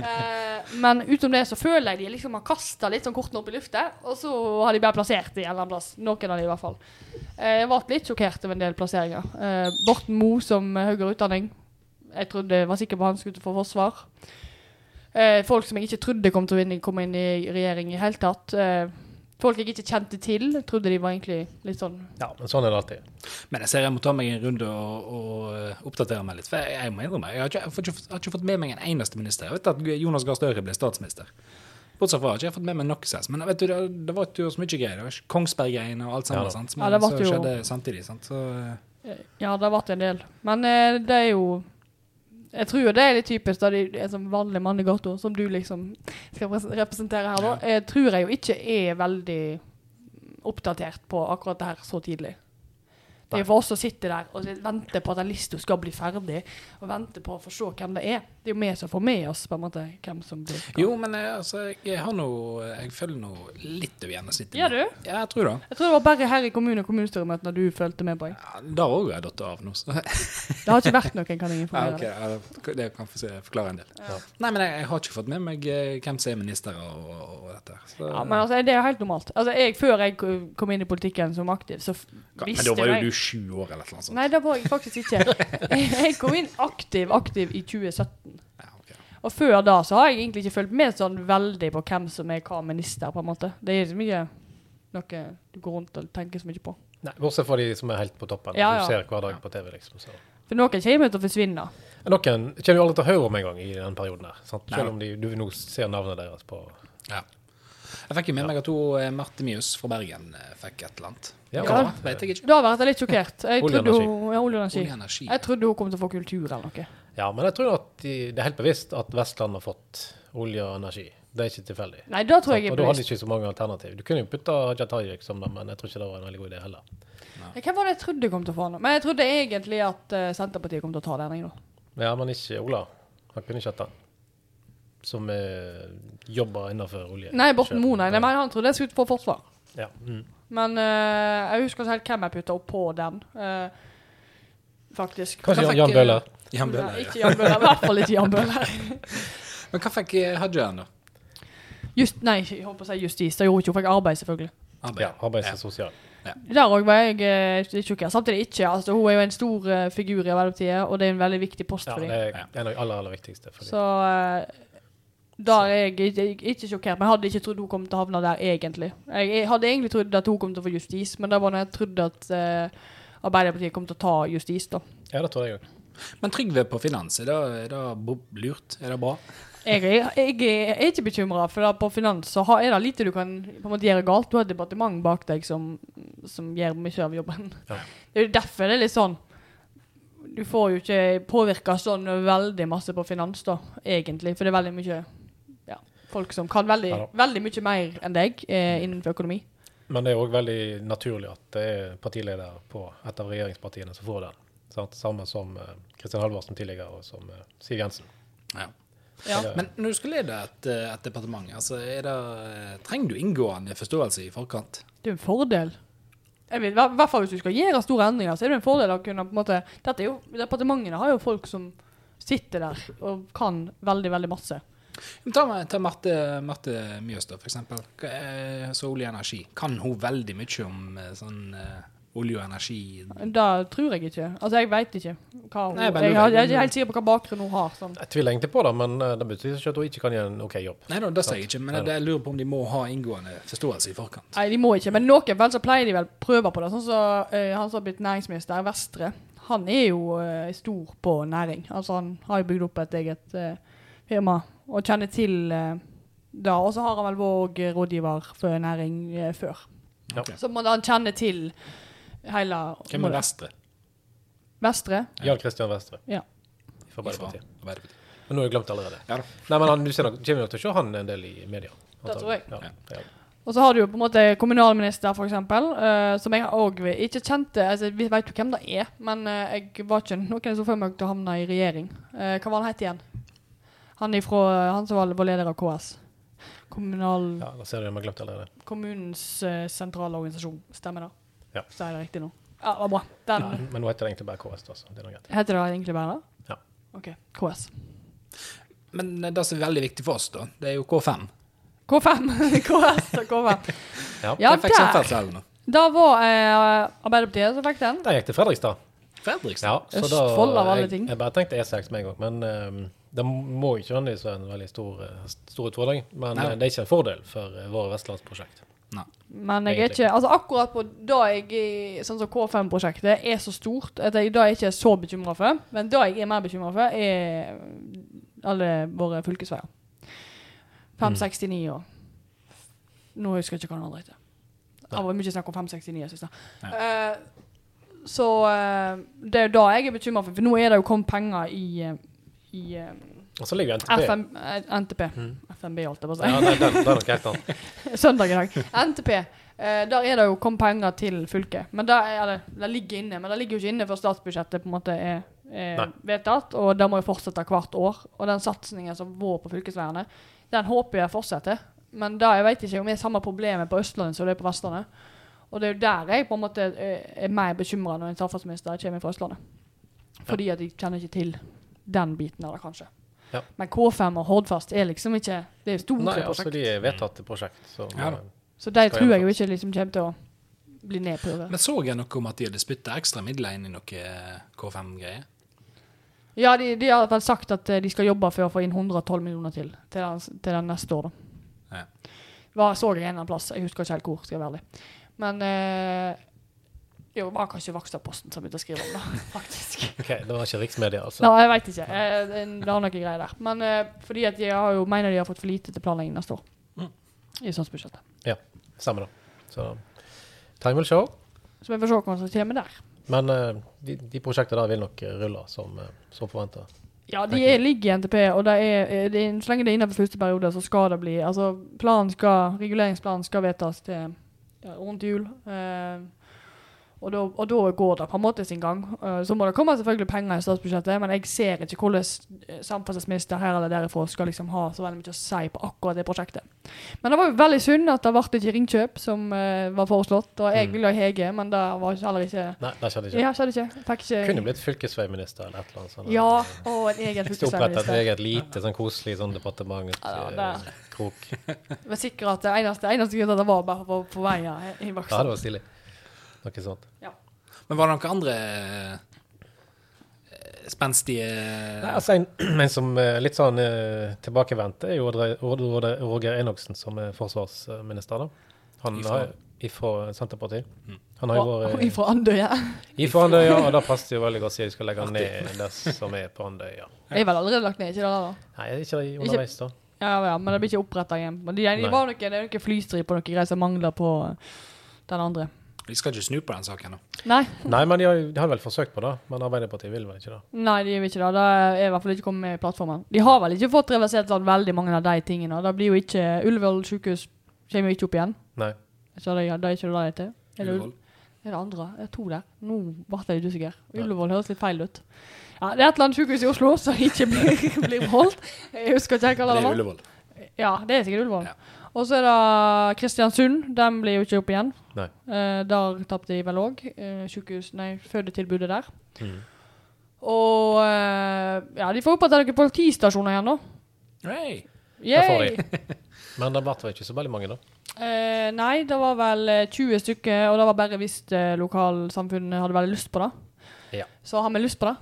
[SPEAKER 3] Eh, men utenom det så føler jeg de liksom har kasta litt sånn kortene opp i lufta, og så har de bare plassert de en eller annen plass. Noen av de i hvert fall. Eh, jeg ble litt sjokkert over en del plasseringer. Eh, Borten Moe som eh, høyere utdanning. Jeg trodde var sikker på han skulle få forsvar. Eh, folk som jeg ikke trodde kom til å vinne, kom inn i regjering i hele tatt. Eh, folk jeg ikke kjente til. Jeg trodde de var egentlig litt sånn
[SPEAKER 1] ja. Men sånn er det alltid.
[SPEAKER 2] Men jeg ser jeg må ta meg en runde og, og eh, oppdatere meg litt. For jeg, jeg må innrømme, jeg har ikke, jeg får ikke, har ikke fått med meg en eneste minister. Jeg vet at Jonas Gahr Støre ble statsminister. Bortsett fra har ikke jeg fått med meg noe sens. Men vet du, det, det var jo så mye greier. Det var Kongsberg-greiene og alt
[SPEAKER 1] Ja
[SPEAKER 2] sammen.
[SPEAKER 1] da.
[SPEAKER 2] sant? Som,
[SPEAKER 3] Ja, det
[SPEAKER 2] som
[SPEAKER 3] ble jo-
[SPEAKER 2] skjedde samtidig. sant? Så, eh,
[SPEAKER 3] Eh, Ja, det har vært en del. Men eh, det er jo Jeg tror jo det er litt typisk da de er som vanlige mann i gata, som du liksom skal pres- representere her, da. Jeg tror jeg jo ikke er veldig oppdatert på akkurat det her så tidlig. Det er jo for oss å sitte der og vente på at den lista skal bli ferdig, og vente på å få se hvem det er. Det er jo vi som får med oss på en måte hvem som blir
[SPEAKER 2] jo, men jeg, altså, jeg har nå eh, Jeg følger nå litt over gjennomsnittet.
[SPEAKER 3] Gjør du?
[SPEAKER 2] Ja, jeg tror det.
[SPEAKER 3] Jeg tror det var bare her i kommune- og kommunestyremøtene du fulgte med på. jeg.
[SPEAKER 2] Ja, da òg har jeg datt av nå. Så.
[SPEAKER 3] Det har ikke vært noen, kan jeg
[SPEAKER 2] Ja,
[SPEAKER 3] informere
[SPEAKER 2] ok,
[SPEAKER 3] deg.
[SPEAKER 2] ja, det- det kan få se- forklare en del. Nei, men jeg, jeg har ikke fått med meg eh, hvem som er minister og, og, og dette. her. Så,
[SPEAKER 3] Ja, men altså, det er jo helt normalt. Altså, jeg, før jeg ko- kom inn i politikken som aktiv, så f-
[SPEAKER 2] Ja, men
[SPEAKER 3] visste
[SPEAKER 2] da var jo
[SPEAKER 3] jeg
[SPEAKER 2] du sju år eller noe sånt.
[SPEAKER 3] Nei, det var jeg faktisk ikke. Jeg, jeg kom inn aktiv, aktiv i 2017.
[SPEAKER 2] Ja, ok.
[SPEAKER 3] Og før da så har jeg egentlig ikke fulgt med sånn veldig på hvem som er hva minister, på en måte. Det er så mye noe du går rundt og tenker så mye på.
[SPEAKER 1] Nei, Bortsett fra de som er helt på toppen.
[SPEAKER 3] Ja,
[SPEAKER 1] som
[SPEAKER 3] ja.
[SPEAKER 1] Du ser hver dag på TV, liksom. Så.
[SPEAKER 3] For noen kommer til å forsvinne.
[SPEAKER 1] Noen kommer jo aldri til å høre om engang i den perioden der. Sant?
[SPEAKER 2] Nei.
[SPEAKER 1] Selv om de, du nå ser navnet deres på
[SPEAKER 2] Ja. Jeg fikk jo med meg at to Marte Mjøs fra Bergen eh, fikk et eller annet.
[SPEAKER 1] Ja,
[SPEAKER 2] Hva
[SPEAKER 3] ja.
[SPEAKER 2] det var, vet jeg ikke.
[SPEAKER 3] Da ble jeg litt sjokkert. Jeg
[SPEAKER 1] Olje og
[SPEAKER 3] trodde
[SPEAKER 1] energi.
[SPEAKER 3] hun, ja, olje og
[SPEAKER 2] Olje og
[SPEAKER 3] energi.
[SPEAKER 2] energi.
[SPEAKER 3] Jeg trodde hun kom til å få kultur eller noe.
[SPEAKER 1] Ja, men jeg tror at de, det er helt bevisst at Vestland har fått olje og energi. Det er ikke tilfeldig.
[SPEAKER 3] Nei, da tror jeg
[SPEAKER 1] Og
[SPEAKER 3] jeg
[SPEAKER 1] du
[SPEAKER 3] ble
[SPEAKER 1] hadde ikke så mange alternativ. Du kunne jo putta Haja Tajik som det, men jeg tror ikke det var en veldig god idé heller.
[SPEAKER 3] Hvem var det jeg trodde kom til å få den? Men jeg trodde egentlig at eh, Senterpartiet kom til å ta den. Jeg, da.
[SPEAKER 1] Ja, men ikke Ola. Han kunne ikke hatt den. Som eh, jobber innenfor olje.
[SPEAKER 3] Nei, Borten Moe, nei. nei, Men han trodde jeg skulle få forsvar.
[SPEAKER 1] Ja. Mm.
[SPEAKER 3] Men eh, jeg husker ikke helt hvem jeg putta opp på den. eh, faktisk.
[SPEAKER 1] Kanskje
[SPEAKER 2] Hva fikk,
[SPEAKER 1] Jan Bøhler?
[SPEAKER 2] eh, Jan
[SPEAKER 3] Nei,
[SPEAKER 2] Bøhler, ja.
[SPEAKER 3] Ikke Jan Bøhler. I hvert fall ikke Jan Bøhler.
[SPEAKER 2] Men hva fikk eh, Hajaen, da?
[SPEAKER 3] Just, nei, jeg holdt på å si justis. Det gjorde ikke hun fikk arbeid, selvfølgelig.
[SPEAKER 2] Arbeid.
[SPEAKER 1] ja. Arbeids- og sosial.
[SPEAKER 3] Der òg var jeg eh, litt sjokkert. Samtidig ikke. Altså, hun er jo en stor eh, figur i Arbeiderpartiet, og det er en veldig viktig post
[SPEAKER 1] Ja,
[SPEAKER 3] for dem.
[SPEAKER 1] det er en av de aller, aller viktigste. For de.
[SPEAKER 3] Så eh, der er jeg ikke, ikke sjokkert, men jeg hadde ikke trodd hun kom til å havne der, egentlig. Jeg, jeg hadde egentlig trodd at hun kom til å få justis, men det var når jeg trodde at eh, Arbeiderpartiet kom til å ta justis, da.
[SPEAKER 1] Ja, det tror jeg òg.
[SPEAKER 2] Men Trygve på finans, er det, er det bo- lurt? Er det bra?
[SPEAKER 3] Jeg, er- jeg, er- er ikke bekymra, for da på finans så har, er det lite du kan på en måte gjøre galt. Du har et departement bak deg som, som gjør mye av jobben.
[SPEAKER 1] Ja.
[SPEAKER 3] Det er jo derfor det er litt sånn Du får jo ikke påvirka sånn veldig masse på finans, da, egentlig. For det er veldig mye ja, folk som kan veldig,
[SPEAKER 1] Ja da.
[SPEAKER 3] veldig mye mer enn deg eh, innenfor økonomi.
[SPEAKER 1] Men det er òg veldig naturlig at det er partileder på et av regjeringspartiene som får den. Sant? Samme som eh, Kristin Halvorsen tidligere, og som eh, Siv Jensen.
[SPEAKER 2] Ja.
[SPEAKER 3] Ja.
[SPEAKER 1] Det-
[SPEAKER 2] Men når du skal lede et, eh, et departement, altså, er det, eh, trenger du inngående forståelse i forkant?
[SPEAKER 3] Det er en fordel. Jeg vet, I hvert fall hvis du skal gjøre store endringer, så er det en fordel å kunne på en måte, dette er jo, Departementene har jo folk som sitter der og kan veldig, veldig masse.
[SPEAKER 2] Men Ta, meg- ta Marte, Marte Mjøs, da, for eksempel. Hva er- Så olje og energi. Kan hun veldig mye om eh, sånn eh, olje og energi?
[SPEAKER 3] Det tror jeg ikke. Altså, jeg veit ikke. Hva hun,
[SPEAKER 2] Nei, bare
[SPEAKER 3] jeg,
[SPEAKER 2] lurer.
[SPEAKER 3] har- jeg er ikke helt sikker på hva bakgrunn hun har. Sånn.
[SPEAKER 1] Jeg tviler egentlig på det, men eh, det betyr ikke at hun ikke kan gjøre en OK jobb.
[SPEAKER 2] Nei da, det sier jeg ikke, men
[SPEAKER 1] Nei
[SPEAKER 2] jeg
[SPEAKER 1] da.
[SPEAKER 2] jeg lurer på om de må ha inngående forståelse i forkant.
[SPEAKER 3] Nei, de må ikke. Men noen vel så pleier de vel prøve på det. Sånn som eh, han som har blitt næringsminister, Vestre. Han er jo eh, stor på næring. Altså han har jo bygd opp et eget eh, firma og kjenner til uh, det. Og så har han vel våg rådgiver for næring eh, før.
[SPEAKER 1] Ja.
[SPEAKER 2] Ok.
[SPEAKER 3] Så må han kjenne til hele
[SPEAKER 2] Hvem er Vestre?
[SPEAKER 3] Vestre?
[SPEAKER 1] Jarl Kristian Vestre
[SPEAKER 3] Ja.
[SPEAKER 1] fra Arbeiderpartiet.
[SPEAKER 2] Fra Arbeiderpartiet.
[SPEAKER 1] Men nå har jeg glemt allerede.
[SPEAKER 2] Ja da.
[SPEAKER 1] Nei, men han, du ser nok, kommer nok til å se han en del i media.
[SPEAKER 3] Det tror jeg.
[SPEAKER 1] antagelig. Ja, ja.
[SPEAKER 3] Og så har du jo på en måte kommunalminister, for eksempel, eh, som jeg òg ikke kjente altså, Vi vet jo hvem det er, men eh, jeg var ikke noen som fikk meg til å havne i regjering. Eh, hva var han het igjen? Han, ifra, eh, han som var var leder av KS. Kommunal,
[SPEAKER 1] ja, da ser du dem har glemt allerede.
[SPEAKER 3] Kommunens eh, sentrale organisasjon. Stemmer det?
[SPEAKER 1] Ja.
[SPEAKER 3] Sa jeg det riktig nå? Ja, det var bra. Den
[SPEAKER 1] Nei, Mm, men nå heter det egentlig bare KS, da, så det er noe greit.
[SPEAKER 3] Heter det egentlig bare det?
[SPEAKER 1] Ja.
[SPEAKER 3] OK. KS.
[SPEAKER 2] Men eh, det som er veldig viktig for oss, da, det er jo K5.
[SPEAKER 3] K5. KS og K5.
[SPEAKER 1] Ja.
[SPEAKER 3] Ja,
[SPEAKER 2] Hvem fikk
[SPEAKER 3] der!
[SPEAKER 2] samferdsel nå?
[SPEAKER 3] Da var eh, Arbeiderpartiet som fikk den.
[SPEAKER 1] Der gikk det Fredrikstad.
[SPEAKER 2] Fredrikstad?
[SPEAKER 1] Ja, så da-
[SPEAKER 3] Østfold av alle ting.
[SPEAKER 1] Jeg, jeg bare tenkte E6 med en gang, men eh, det må jo ikke nødvendigvis være en veldig stor, eh, stor utfordring. Men
[SPEAKER 2] Nei.
[SPEAKER 1] eh, det er ikke en fordel for eh, våre vestlandsprosjekt.
[SPEAKER 3] Men jeg er
[SPEAKER 1] Egentlig.
[SPEAKER 3] ikke Altså akkurat på da jeg i- Sånn som K5-prosjektet er så stort at jeg da er ikke er så bekymra for. Men da jeg er mer bekymra for, er alle våre fylkesveier.
[SPEAKER 1] Mm.
[SPEAKER 3] 569 og Nå husker jeg ikke hva den andre heter. Det var mye snakk om 569 sist.
[SPEAKER 2] Ja.
[SPEAKER 3] Eh, så eh, det er jo da jeg er bekymra for, for nå er det jo kommet penger i, eh, i eh,
[SPEAKER 1] Og så ligger jo NTP.
[SPEAKER 3] FM, eh, NTP. FNB, holdt jeg på å si.
[SPEAKER 1] Mm. Ja, nei, den, den er nok helt annet.
[SPEAKER 3] Søndag i dag. NTP. Eh, der er det jo kommet penger til fylket. Men det, er, eller, det ligger inne, men det ligger jo ikke inne før statsbudsjettet på en måte er,
[SPEAKER 1] Nei.
[SPEAKER 3] er vedtatt. Og det må jo fortsette hvert år. Og den satsingen som var på fylkesveiene, den håper jeg fortsetter. Men da, jeg vet ikke om det er samme problemet på Østlandet som det er på Vestlandet. Og det er jo der jeg på en måte eh, er mer bekymra når en samferdselsminister kommer fra Østlandet. Fordi at jeg kjenner ikke til den biten av det, kanskje.
[SPEAKER 1] Ja.
[SPEAKER 3] Men K5 og Hordfast er liksom ikke Det er jo store
[SPEAKER 1] Nei,
[SPEAKER 3] prosjekter.
[SPEAKER 1] altså de er vedtatte prosjekt. Så, eh,
[SPEAKER 2] Ja da.
[SPEAKER 3] Så de
[SPEAKER 1] Skal
[SPEAKER 3] tror jeg jo
[SPEAKER 1] gjennomføres.
[SPEAKER 3] ikke liksom kommer til å bli nedprøvet.
[SPEAKER 2] Men så jeg noe om at de hadde spytta ekstra midler inn i noe eh, K5-greier?
[SPEAKER 3] Ja, de, de har i hvert fall sagt at eh, de skal jobbe for å få inn 112 millioner til til den, til den neste år. da.
[SPEAKER 2] Ja.
[SPEAKER 3] Hva så jeg en eller annen plass? Jeg husker ikke helt hvor, skal jeg være ærlig. Men eh, jo, det var kanskje Vakstadposten som begynte å skrive om det, faktisk.
[SPEAKER 1] Ok, det var ikke riksmedia, altså.
[SPEAKER 3] Nei, jeg veit ikke. Eh, det er noe greier der. Men eh, fordi at de har jo mener de har fått for lite til planlegging neste år. i statsbudsjettet.
[SPEAKER 1] Samme da. Så time will show.
[SPEAKER 3] Så vi får se hva som kommer der.
[SPEAKER 1] Men eh, de, de prosjektene der vil nok eh, rulle som, eh, som forventa.
[SPEAKER 3] Ja, de
[SPEAKER 1] Tenker
[SPEAKER 3] er, ligger i NTP, og det er, eh, det er, så lenge det er innenfor første periode, så skal det bli Altså, planen skal, reguleringsplanen skal vedtas til ja, rundt jul. eh, og da og da går det på en måte sin gang. Eh, så må det komme selvfølgelig penger i statsbudsjettet, men jeg ser ikke hvordan eh, samferdselsminister her eller derifra skal liksom ha så veldig mye å si på akkurat det prosjektet. Men det var jo veldig synd at det ble ikke Ringkjøp, som eh, var foreslått. Og jeg
[SPEAKER 1] Mm.
[SPEAKER 3] ville ha Hege, men det var heller ikke
[SPEAKER 1] Nei, det skjedde ikke.
[SPEAKER 3] Ja, skjedde ikke. Fikk
[SPEAKER 1] Kunne
[SPEAKER 3] ikke
[SPEAKER 1] blitt fylkesveiminister eller et eller annet sånt.
[SPEAKER 3] Ja, og en egen
[SPEAKER 1] Hvis du oppretter et
[SPEAKER 3] fylkesveiminister.
[SPEAKER 1] eget lite sånn koselig sånn departement ut,
[SPEAKER 3] Ja, det-
[SPEAKER 1] eh, krok.
[SPEAKER 3] Men sikkert at det eneste, eneste grunnen til at det var bare for å forveie i
[SPEAKER 1] Ja,
[SPEAKER 3] voksen.
[SPEAKER 1] det var stilig. Noe sånt.
[SPEAKER 2] Men var det noen andre eh, spenstige
[SPEAKER 1] Nei, altså en, en som er litt sånn eh, tilbakevendt, er jo Ordre- Ordre- Roger Enoksen som er forsvarsminister. da. Han
[SPEAKER 2] Ifra?
[SPEAKER 1] har, ifra Senterpartiet.
[SPEAKER 2] Mm.
[SPEAKER 1] Han har jo vært eh,
[SPEAKER 3] Og Fra Andøya.
[SPEAKER 1] ifra Andøya, og da passet det jo veldig godt siden de skal legge ned det som er på Andøya.
[SPEAKER 3] Jeg er vel allerede lagt ned, ikke det da?
[SPEAKER 1] Nei, ikke de underveis, da.
[SPEAKER 3] Ja, ja, men det blir ikke oppretta igjen. Men det, det,
[SPEAKER 1] Nei.
[SPEAKER 3] var noe, det er noe flystrid på noe greier som mangler på eh, den andre.
[SPEAKER 2] De skal ikke snu på den saken nå.
[SPEAKER 3] Nei,
[SPEAKER 1] Nei, men de har, de har vel forsøkt på det. Men Arbeiderpartiet vil vel ikke det.
[SPEAKER 3] nei, de vil ikke det. Det er i hvert fall ikke kommet med i plattformen. De har vel ikke fått reversert sånn veldig mange av de tingene. Det blir jo ikke Ullevål sykehus kommer jo ikke opp igjen.
[SPEAKER 1] Nei.
[SPEAKER 3] Så det, det er ikke det det heter. Er det, Ull-
[SPEAKER 2] Ullevål.
[SPEAKER 3] er det andre? Det er to der. Nå ble jeg litt usikker. Ullevål høres litt feil ut. Ja, det er et eller annet sykehus i Oslo som ikke blir, blir holdt. Jeg husker ikke hva
[SPEAKER 2] Det er
[SPEAKER 3] det var.
[SPEAKER 2] Ullevål.
[SPEAKER 3] Ja, det er sikkert Ullevål.
[SPEAKER 2] Ja.
[SPEAKER 3] Og så er det Kristiansund. Den blir jo ikke opp igjen.
[SPEAKER 1] Nei.
[SPEAKER 3] Eh, der tapte de vel òg. Eh, sykehus, nei, fødetilbudet der.
[SPEAKER 1] Mm.
[SPEAKER 3] Og eh, ja, de får oppretta noen politistasjoner igjen, da.
[SPEAKER 2] Hey.
[SPEAKER 1] får
[SPEAKER 3] Yay!
[SPEAKER 1] Men det ble vel ikke så veldig mange, da.
[SPEAKER 3] Eh, nei, det var vel eh, 20 stykker, og det var bare hvis eh, lokalsamfunnet hadde veldig lyst på det.
[SPEAKER 1] Ja.
[SPEAKER 3] Så har vi lyst på det.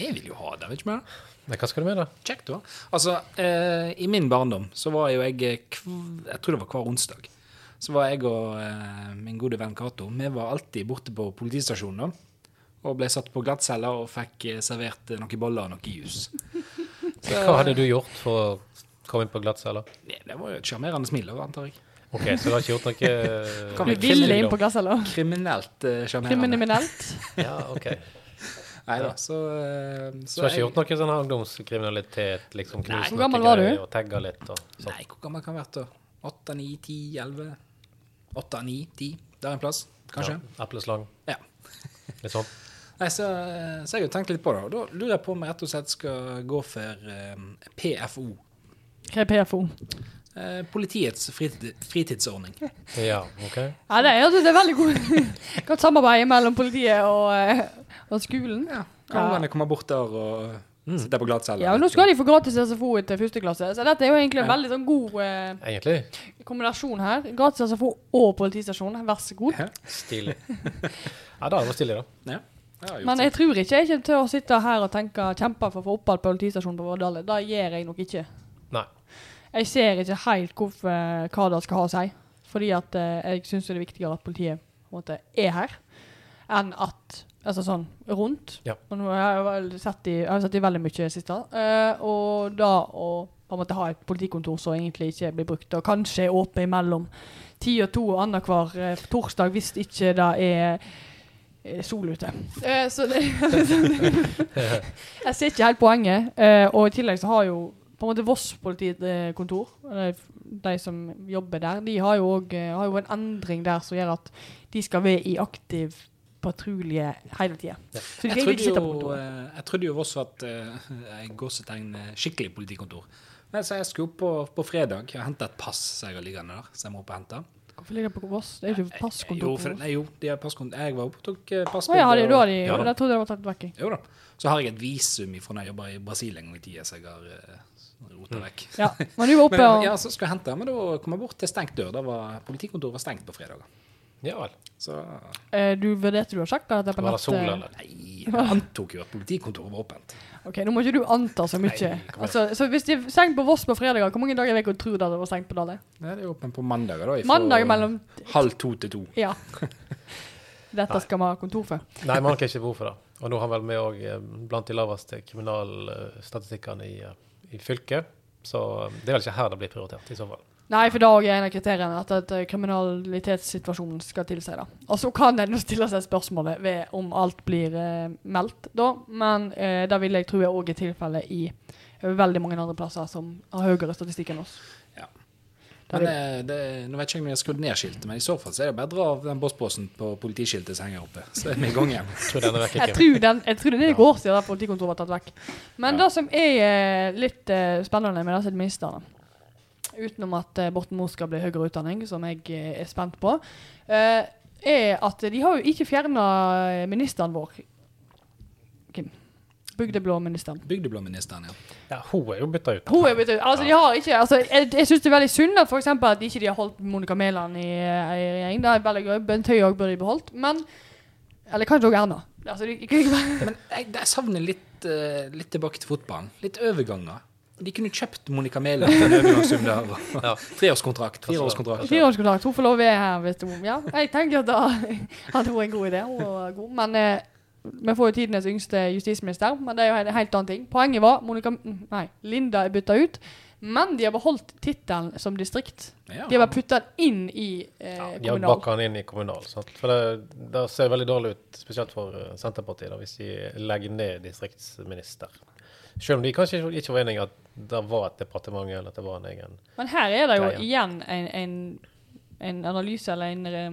[SPEAKER 2] Vi vil jo ha det, vet du ikke mer?
[SPEAKER 1] Nei, hva skal du med, da?
[SPEAKER 2] Kjekt, da. Altså, eh, i min barndom så var jo jeg eh, kv- Jeg tror det var hver onsdag. Så var jeg og eh, min gode venn Cato Vi var alltid borte på politistasjonen da. Og ble satt på glattcella og fikk eh, servert eh, noen boller og noe jus.
[SPEAKER 1] Hva hadde du gjort for å komme inn på glattcella?
[SPEAKER 2] Nei, Det var jo et sjarmerende smil, da, antar jeg.
[SPEAKER 1] OK, så du har ikke gjort
[SPEAKER 2] Kan
[SPEAKER 1] noe
[SPEAKER 2] vi-
[SPEAKER 3] Du ville inn på glasset,
[SPEAKER 2] Kriminelt eh, sjarmerende.
[SPEAKER 3] Kriminelt.
[SPEAKER 1] Ja, OK.
[SPEAKER 2] Nei da, så, eh,
[SPEAKER 1] Så du har ikke gjort noe sånn her ungdomskriminalitet? liksom
[SPEAKER 2] Nei.
[SPEAKER 1] knust
[SPEAKER 3] Hvor
[SPEAKER 1] noe
[SPEAKER 3] gammel var
[SPEAKER 1] greier
[SPEAKER 3] du?
[SPEAKER 1] Og tagga litt og sånn.
[SPEAKER 2] Nei, hvor gammel kan jeg ha vært da? Åtte, ni, ti, elleve? Åtte, ni, ti. Der en plass, kanskje?
[SPEAKER 1] Ja, epleslang.
[SPEAKER 2] Ja.
[SPEAKER 1] Litt sånn.
[SPEAKER 2] Nei, så, eh, så jeg har jo tenkt litt på det. Og da lurer jeg på om jeg rett og slett skal gå for eh, PFO.
[SPEAKER 3] Hva er PFO?
[SPEAKER 2] eh, Politiets fritid, fritidsordning.
[SPEAKER 1] Ja, OK.
[SPEAKER 3] Ja, det, er- jeg synes det er veldig god, godt samarbeid mellom politiet og, eh, og skolen.
[SPEAKER 2] Ja, Kan hende komme bort der og
[SPEAKER 1] Mm.
[SPEAKER 2] sitte på glattcelle.
[SPEAKER 3] Ja, og Nå skal de få gratis SFO etter første klasse, så dette er jo egentlig en veldig sånn god eh,
[SPEAKER 1] Egentlig
[SPEAKER 3] kombinasjon her. Gratis SFO og politistasjon, vær så god.
[SPEAKER 2] Ja,
[SPEAKER 1] stilig. Ja, da var det stilig, da.
[SPEAKER 2] ja. Jeg har gjort
[SPEAKER 3] Men
[SPEAKER 2] det.
[SPEAKER 3] jeg tror ikke jeg kommer til å sitte her og tenke kjempe for å få opphold på politistasjonen på Vårdale. Det gjør jeg nok ikke.
[SPEAKER 1] Nei.
[SPEAKER 3] Jeg ser ikke helt hvorfor, eh, hva det skal ha å si. Fordi at eh, jeg syns det er viktigere at politiet på en måte, er her, enn at Altså sånn rundt.
[SPEAKER 1] Ja.
[SPEAKER 3] Og nå har jeg vel sett i, jeg har sett i veldig mye sist. Uh, og da å på en måte ha et politikontor som egentlig ikke blir brukt, og kanskje er åpent mellom ti og to annenhver eh, torsdag hvis ikke det er eh, sol ute. Eh, så det, jeg ser ikke helt poenget. eh, og i tillegg så har jo på en måte Voss politikontor, eller de som jobber der, de har jo òg har jo en endring der som gjør at de skal være i aktiv patrulje hele tida. Så de
[SPEAKER 2] Jeg
[SPEAKER 3] kan
[SPEAKER 2] trodde,
[SPEAKER 3] ikke sitte på
[SPEAKER 2] jo,
[SPEAKER 3] kontoret.
[SPEAKER 2] eh, jeg trodde jo Voss var et eh, jeg gåsetegn eh, skikkelig politikontor. Men så jeg skulle opp på, på fredag og hente et pass som jeg har liggende der. som jeg må opp og hente.
[SPEAKER 3] Hvorfor ligger det på Voss? Det er jo ikke
[SPEAKER 2] Jo,
[SPEAKER 3] passkontor på
[SPEAKER 2] for,
[SPEAKER 3] Voss.
[SPEAKER 2] nei, jo, de har passkont- jeg var oppe og tok eh,
[SPEAKER 3] Å ja, har de,
[SPEAKER 2] passbilde.
[SPEAKER 3] da
[SPEAKER 2] og-
[SPEAKER 3] har de,
[SPEAKER 1] Ja da.
[SPEAKER 3] jeg trodde det var tatt vekk. jeg.
[SPEAKER 2] Jo da. Så har jeg et visum ifra da jeg jobba i Brasil en gang i tida, så jeg har uh, rota vekk.
[SPEAKER 3] Ja. Men du var
[SPEAKER 2] Men,
[SPEAKER 3] oppe og
[SPEAKER 2] ja, så skal jeg hente, men da kom jeg bort til stengt dør. Da var Politikontoret var stengt på fredager.
[SPEAKER 1] Ja vel.
[SPEAKER 2] Så
[SPEAKER 3] eh, Du vurderte du å sjekke dette på
[SPEAKER 1] Var
[SPEAKER 3] eh,
[SPEAKER 1] det
[SPEAKER 3] nettet?
[SPEAKER 1] sol, eller?
[SPEAKER 2] nei, jeg antok jo at politikontoret var åpent.
[SPEAKER 3] Ok, Nå må ikke du anta så
[SPEAKER 2] Nei,
[SPEAKER 3] mye.
[SPEAKER 2] kom igjen.
[SPEAKER 3] Altså, så hvis de er stengt på Voss på fredager, hvor mange dager i uka tror du at det var stengt på Dale?
[SPEAKER 2] Nei, det er åpent på mandager, da. ifra
[SPEAKER 3] Mandag mellom
[SPEAKER 2] Halv to til to.
[SPEAKER 3] Ja. Dette skal vi ha kontor for.
[SPEAKER 1] Nei, man kan ikke bo for det. Og nå har vel vi òg blant de laveste eh, kriminalstatistikkene i, eh, i fylket. Så det er vel ikke her det blir prioritert, i så fall.
[SPEAKER 3] Nei, for det er også en av kriteriene at, at eh, kriminalitetssituasjonen skal tilsi det. Og så kan en jo stille seg spørsmålet ved om alt blir eh, meldt, da. Men eh, det vil jeg tro er òg tilfellet i veldig mange andre plasser som har høyere statistikk enn oss.
[SPEAKER 2] Ja.
[SPEAKER 3] Det
[SPEAKER 2] Men
[SPEAKER 3] vil-
[SPEAKER 2] eh, det, nå vet ikke jeg om jeg har skrudd ned skiltet, men i så fall så er det bare å dra av den bossposen på politiskiltet som henger oppe. Så er vi i gang igjen.
[SPEAKER 1] Tror denne vekk
[SPEAKER 3] Jeg
[SPEAKER 1] ikke.
[SPEAKER 3] tror, den, jeg tror det er i går siden det politikontoret var tatt vekk. Men det som er eh, litt eh, spennende med disse ministrene, utenom at eh, Borten Moe skal bli høyere utdanning, som jeg eh, er spent på, eh, er at de har jo ikke fjerna ministeren vår. Kim. Bygdeblå-ministeren.
[SPEAKER 2] Bygdeblåministeren, ja.
[SPEAKER 1] Ja, hun er jo bytta ut.
[SPEAKER 3] Hun er blitt Altså, de har ikke altså, Jeg, jeg syns det er veldig synd at for eksempel at de ikke de har holdt Monica Mæland i, eh, i regjering. Det er veldig gøy. Bent Høie òg burde de beholdt. Men Eller kanskje òg Erna. Altså, de,
[SPEAKER 2] Men jeg, jeg savner litt, eh, litt tilbake til fotballen. Litt overganger. De kunne kjøpt Monica Mæland for en overgangssum der. og-
[SPEAKER 1] Ja.
[SPEAKER 2] Treårskontrakt. altså. Fireårskontrakt.
[SPEAKER 3] Fireårskontrakt. Hun får lov å være her hvis hun Ja, jeg tenker at da hadde hun en god idé. Hun var god. Men eh, vi får jo tidenes yngste justisminister, men det er jo en helt annen ting. Poenget var Monica mm, Nei, Linda er bytta ut. Men de har beholdt tittelen som distrikt.
[SPEAKER 2] Ja.
[SPEAKER 3] De har bare putta den inn i eh,
[SPEAKER 1] De har
[SPEAKER 3] kommunal.
[SPEAKER 1] bakka han inn i kommunal. Sant? For det, det ser veldig dårlig ut, spesielt for eh, Senterpartiet, da, hvis de legger ned distriktsminister. Selv om de kanskje ikke- ikke var enige i at det var et departement, eller at det var en egen
[SPEAKER 3] Men her er det jo
[SPEAKER 1] Greia.
[SPEAKER 3] igjen en, en, en analyse eller en eh,